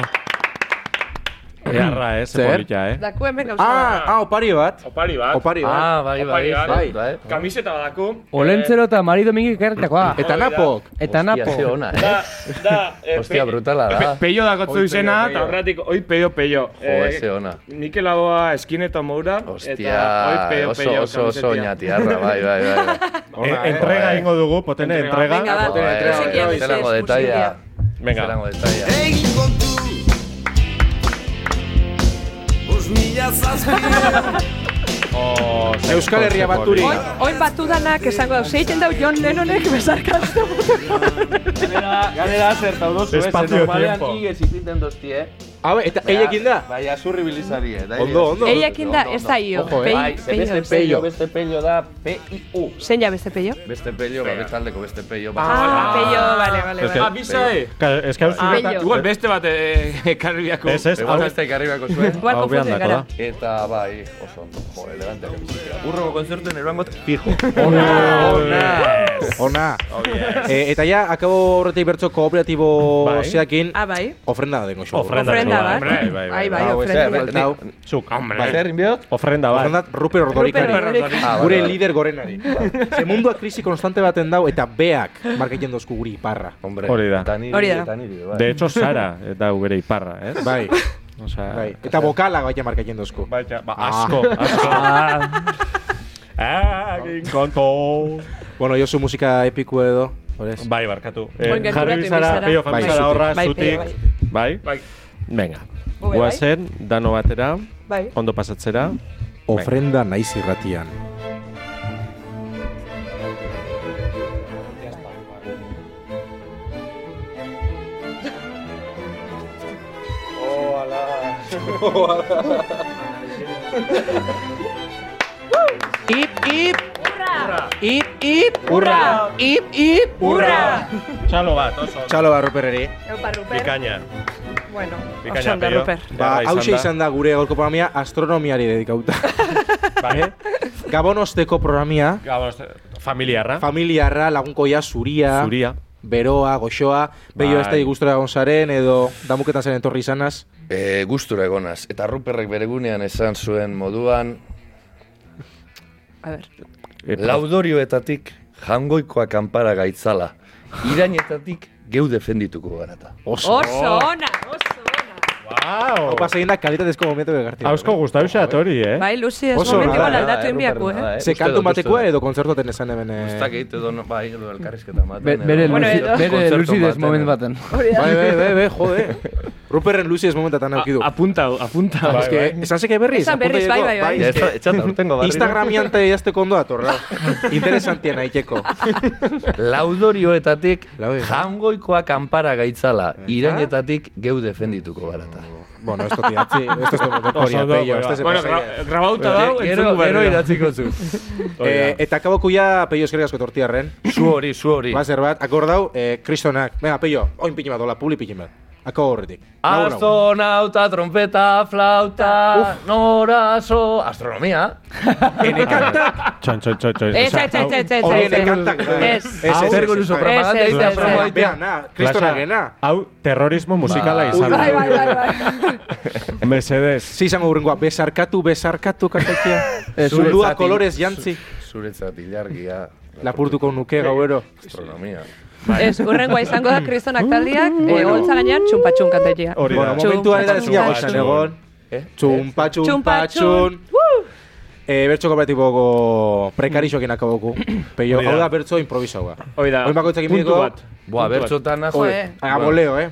S1: Earra, ez,
S2: Zer?
S1: polita, eh?
S3: Daku hemen gauza.
S2: Ah, ah, opari bat.
S5: Opari bat.
S2: Opari bat.
S5: Ah, bai, bai,
S2: Opari
S5: bai.
S2: bat.
S5: Kamiseta badako.
S4: Olentzero eta Mari Domingi kertakoa.
S2: Eta napok.
S4: Eta napo.
S7: Hostia, ze ona, eh?
S5: Da, da, eh,
S7: Hostia, brutala da.
S5: Pe- Peio dakotzu
S7: Oi,
S5: izena,
S7: Peio,
S5: eta
S7: Peio.
S5: horretik, oi peio, peio. Eh,
S7: Jo, ze ona.
S5: Mikel Aboa eskin eta moura,
S7: Hostia,
S5: eta oi peio,
S7: oso,
S5: peio.
S7: oso, oso
S5: kamisetia.
S7: oñatiarra, bai, bai, bai.
S1: E- entrega egingo dugu, potene entrega.
S3: Venga, va.
S7: Joder, eh,
S3: Trezekian
S7: zelango
S3: ez,
S7: detaia.
S1: Venga.
S7: Zelango detaia.
S1: Oh, ze-
S2: Euskal
S1: ze
S2: Herria baturi.
S1: polita.
S3: Oin batu danak esango dauz, egiten dau John Lennonek bezarkaztu.
S7: Ganera zertau dozu,
S1: ez, Espacio, normalean tiempo.
S7: igez ipinten dozti, eh?
S2: Hau, Ah, eta eiekin da?
S7: Bai, azurri bilizari, eh?
S2: Ondo, ondo.
S3: Eiekin da, ez da io.
S2: Ojo, eh.
S3: Pei-
S7: Bai, ze
S3: peio.
S7: beste pello, beste pello da P-I-U.
S3: Zein ja beste peio?
S7: Beste pello, ba, bestaldeko beste pello.
S3: este Ah, peio, vale, vale,
S1: Ez que-
S3: vale.
S5: Ah, bisa, eh?
S1: Ka- Ez que hau zure eta-
S3: Bello.
S5: Igual beste bat eh, ekarri biako.
S1: Ez, ez,
S7: Egon
S1: hau-
S7: beste ikarribako zuen.
S3: Igual
S1: hau
S3: konfunden
S1: behandako
S3: gara.
S1: da.
S7: Eta bai, oso ondo, jo, elegante. Urroko konzertuen eroango fijo.
S2: Ona. Eh, eta ja, akabo horretik bertso kooperatibo
S1: Bai.
S2: zeakin,
S3: Ah, bai.
S2: ofrenda da dengo xo.
S1: Ofrenda.
S3: Ofrenda
S1: Bai,
S3: bat.
S1: bai, bai, bai.
S3: Ai, bai,
S2: Hau,
S3: ofrenda.
S2: ez,
S3: bat.
S2: ez, hau.
S1: Zuk,
S7: Zer, inbiot?
S1: Ofrenda
S2: Ofrenda
S1: bat.
S2: Ruper Ordorikari.
S3: Ruper Ordorikari.
S7: Ah,
S2: Gure
S7: vale, vale.
S2: lider gorenari. Ze mundua krisi konstante baten dau eta beak marketzen dozku guri iparra.
S7: Hombre,
S1: Hori da.
S7: eta niri,
S3: Hori da.
S7: eta niri, bai.
S1: De hecho, Sara eh, da bere iparra, ez?
S2: Bai,
S1: Osea,
S2: bai. Eta bokala baita marketzen dozku.
S1: Baita, ba,
S2: Ah.
S1: asko, asko. Ah, egin konto.
S2: Bueno, jozu musika epiku edo. Horez.
S1: Bai, barkatu.
S3: Oin gerturatu
S1: jarri bizara,
S3: ibizara.
S1: peio
S2: Bai,
S1: famizara
S2: zutik.
S1: horra,
S3: Bai,
S1: zutik.
S3: peio,
S1: Bai?
S5: Bai.
S1: Venga.
S3: Ube,
S1: Guazen, dano batera,
S3: Bai.
S1: ondo pasatzera.
S2: Ofrenda naiz irratian.
S3: Ip, ip. Urra. Ip, ip. Urra. Ah. Ip, ip. Urra.
S1: Txalo bat, oso.
S2: Txalo ba, Rupereri.
S3: Eupa, Ruper.
S1: Bikaina.
S3: Bueno,
S1: Bikaina,
S3: oso ondo,
S1: Peio.
S3: Ruper.
S2: Ba,
S1: Ederra
S2: hauxe
S1: izan
S2: izan da gure gaurko programia astronomiari dedikauta.
S1: Bai?
S2: Gabon osteko programia,
S1: Gabon, familiarra.
S2: familiarra, lagunkoia, zuria,
S1: Zuria.
S2: beroa, goxoa, beio ez da gustora egon zaren, edo damuketan zaren torri izanaz.
S7: E, gustura egonaz. Eta Ruperrek beregunean esan zuen moduan,
S3: A ver.
S7: laudorioetatik jangoikoa kanpara gaitzala. Irainetatik geu defendituko garata.
S2: Oso.
S3: Oso ona, oso ona.
S1: Wow.
S2: Hau pasa egin da kalitatezko momentu egartia.
S1: Hausko gustau xat hori, eh?
S3: Bai, Luzi, ez
S2: Oso
S3: momentu
S2: ona
S3: igual
S2: da,
S3: aldatu enbiaku, eh?
S2: Ze kantu batekoa edo kontzertuaten esan hemen... eh,
S7: Ez dakit edo, no- bai, edo elkarrizketa baten.
S4: Be-
S7: edo-
S4: Bere
S3: Bueno,
S4: luzi-
S3: edo-
S4: bere
S7: Kontzertu
S4: luzides
S7: baten, eh.
S4: moment
S7: edo.
S4: baten.
S2: Bai, bai, bai, bai, jode. Ruperren luzi ez momentetan aukidu.
S5: Apunta, apunta.
S1: Bai,
S2: Ez que, esan zeke berriz?
S3: Esan berriz,
S2: apunta bai.
S3: bai,
S2: diego,
S3: bai, bai.
S7: Ja, ez da- etxat aurtengo barriro.
S2: Instagramian eta idazteko ondo datorra. Interesantien aiteko.
S7: Laudorioetatik
S2: Laude.
S7: jangoikoa kanpara gaitzala. Irainetatik geu defendituko garata.
S2: Bueno, esto tiratzi, esto es de
S1: Oso
S2: motokoria,
S1: ondo,
S2: pello, este se
S5: Bueno,
S2: pasa.
S5: gra- grabauta dau,
S7: Gero,
S5: entzungu
S7: gero
S5: berriro.
S7: iratziko zu.
S2: Eh, eta kaboko ja, pello eskerrik asko tortiarren.
S7: Zu hori, zu
S4: Bai,
S7: hori.
S2: Bazer bat, akordau, eh, kristonak. Venga, pello, oin pinin bat, hola, publi pinin bat. Ako horretik. Lagun
S7: Ah,
S2: hau.
S7: Astronauta, trompeta, flauta, noraso, astronomia.
S1: Txon, txon, txon, txon.
S3: Ez, ez, ez, ez, ez,
S2: Horien
S3: ez.
S2: ekantak.
S3: Ez.
S7: Hau zer guruzo propaganda
S3: Ez, ez,
S7: egitea
S3: ez, ez.
S7: promo egitea.
S2: Bea, na, kristonak gena.
S1: Hau, terrorismo musikala
S7: Ba.
S1: izan
S3: Bai, bai,
S1: da.
S3: bai, bai.
S1: Mercedes.
S2: Si izango urrengoa, besarkatu, besarkatu, kartakia.
S4: Ez,
S2: Zulua
S4: zati-
S2: kolorez jantzi.
S7: Zuretzat ilargia,
S2: Lapurtuko nuke gauero.
S7: astronomia.
S3: Ez, urrengoa izango da kristonak taldiak, eh, holtza gainean txumpatxun kantatia.
S1: Hori
S2: Bueno,
S1: da.
S3: Txum,
S2: momentuan eta
S3: patxun,
S2: ezin dago
S1: patxun.
S2: izan egon.
S7: Eh?
S2: Txumpa, txumpa,
S3: Txumpa,
S2: txun.
S3: txun.
S2: Eh, bertso kooperatiboko prekarixoak inakoboku. Peio,
S1: Hori da.
S2: hau da bertso improvisaua.
S5: Hoi da,
S2: Oin bakoitzak
S5: puntu
S2: imidiko-
S5: bat.
S7: Boa, bertxotan ajo.
S3: Joe.
S2: Agamoleo, eh?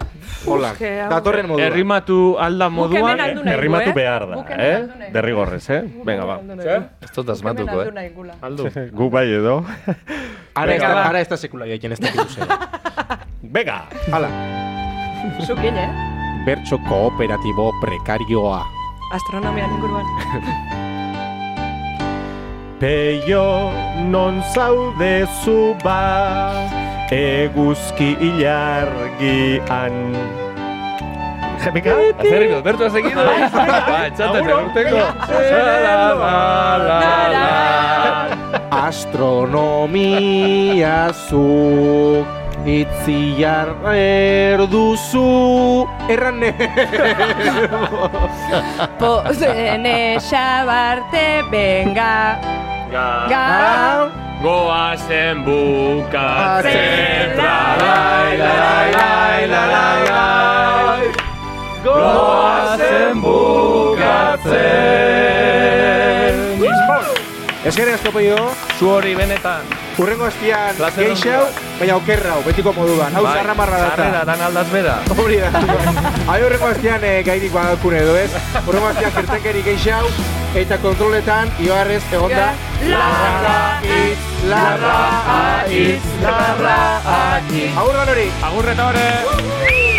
S2: Hola.
S3: Uske, hau.
S2: Datorren modua.
S5: Errimatu alda moduan.
S3: hemen aldu nahi du,
S1: Errimatu
S3: eh?
S1: behar da,
S3: Guk hemen aldu
S1: eh?
S3: nahi.
S1: Derrigorrez, eh? Venga, ba.
S7: Ez dut asmatuko, eh?
S5: Aldu.
S1: Gu bai edo.
S2: Ara ez
S5: Venga,
S2: da,
S5: va.
S2: ara ez da sekula jaiten ez da kikusera.
S1: Venga.
S2: Hala.
S3: Zukin, eh?
S2: Bertso kooperatibo prekarioa.
S3: Astronomian inguruan.
S1: Peio non zaudezu ba eguzki ilargian. Jepika?
S7: Azerriko, bertu azekido. Ba, etxatan zen urteko. La, la, la, la.
S2: Astronomia zuk itziar erduzu errane.
S3: Pozene xabarte benga
S1: Gau
S3: Gau.
S1: Goazen bukatzen
S3: Atzen.
S1: La lai, la lai, lai, la lai, lai Goazen bukatzen
S2: Ezkerrik asko peio.
S4: Zu hori benetan.
S2: Urrengo azpian
S4: Plazer
S2: geixau, baina okerrau, betiko moduan. Hau
S4: Bai,
S2: zarra marra data.
S4: Zarrera dan aldaz bera.
S2: Hori da. Hai horrengo aztean eh, gairik badakun edo ez. Horrengo aztean kertenkeri geixau, eta kontroletan ibarrez egon da. Larra itz, larra itz, larra itz. Agur ganori!
S1: Agurreta hori!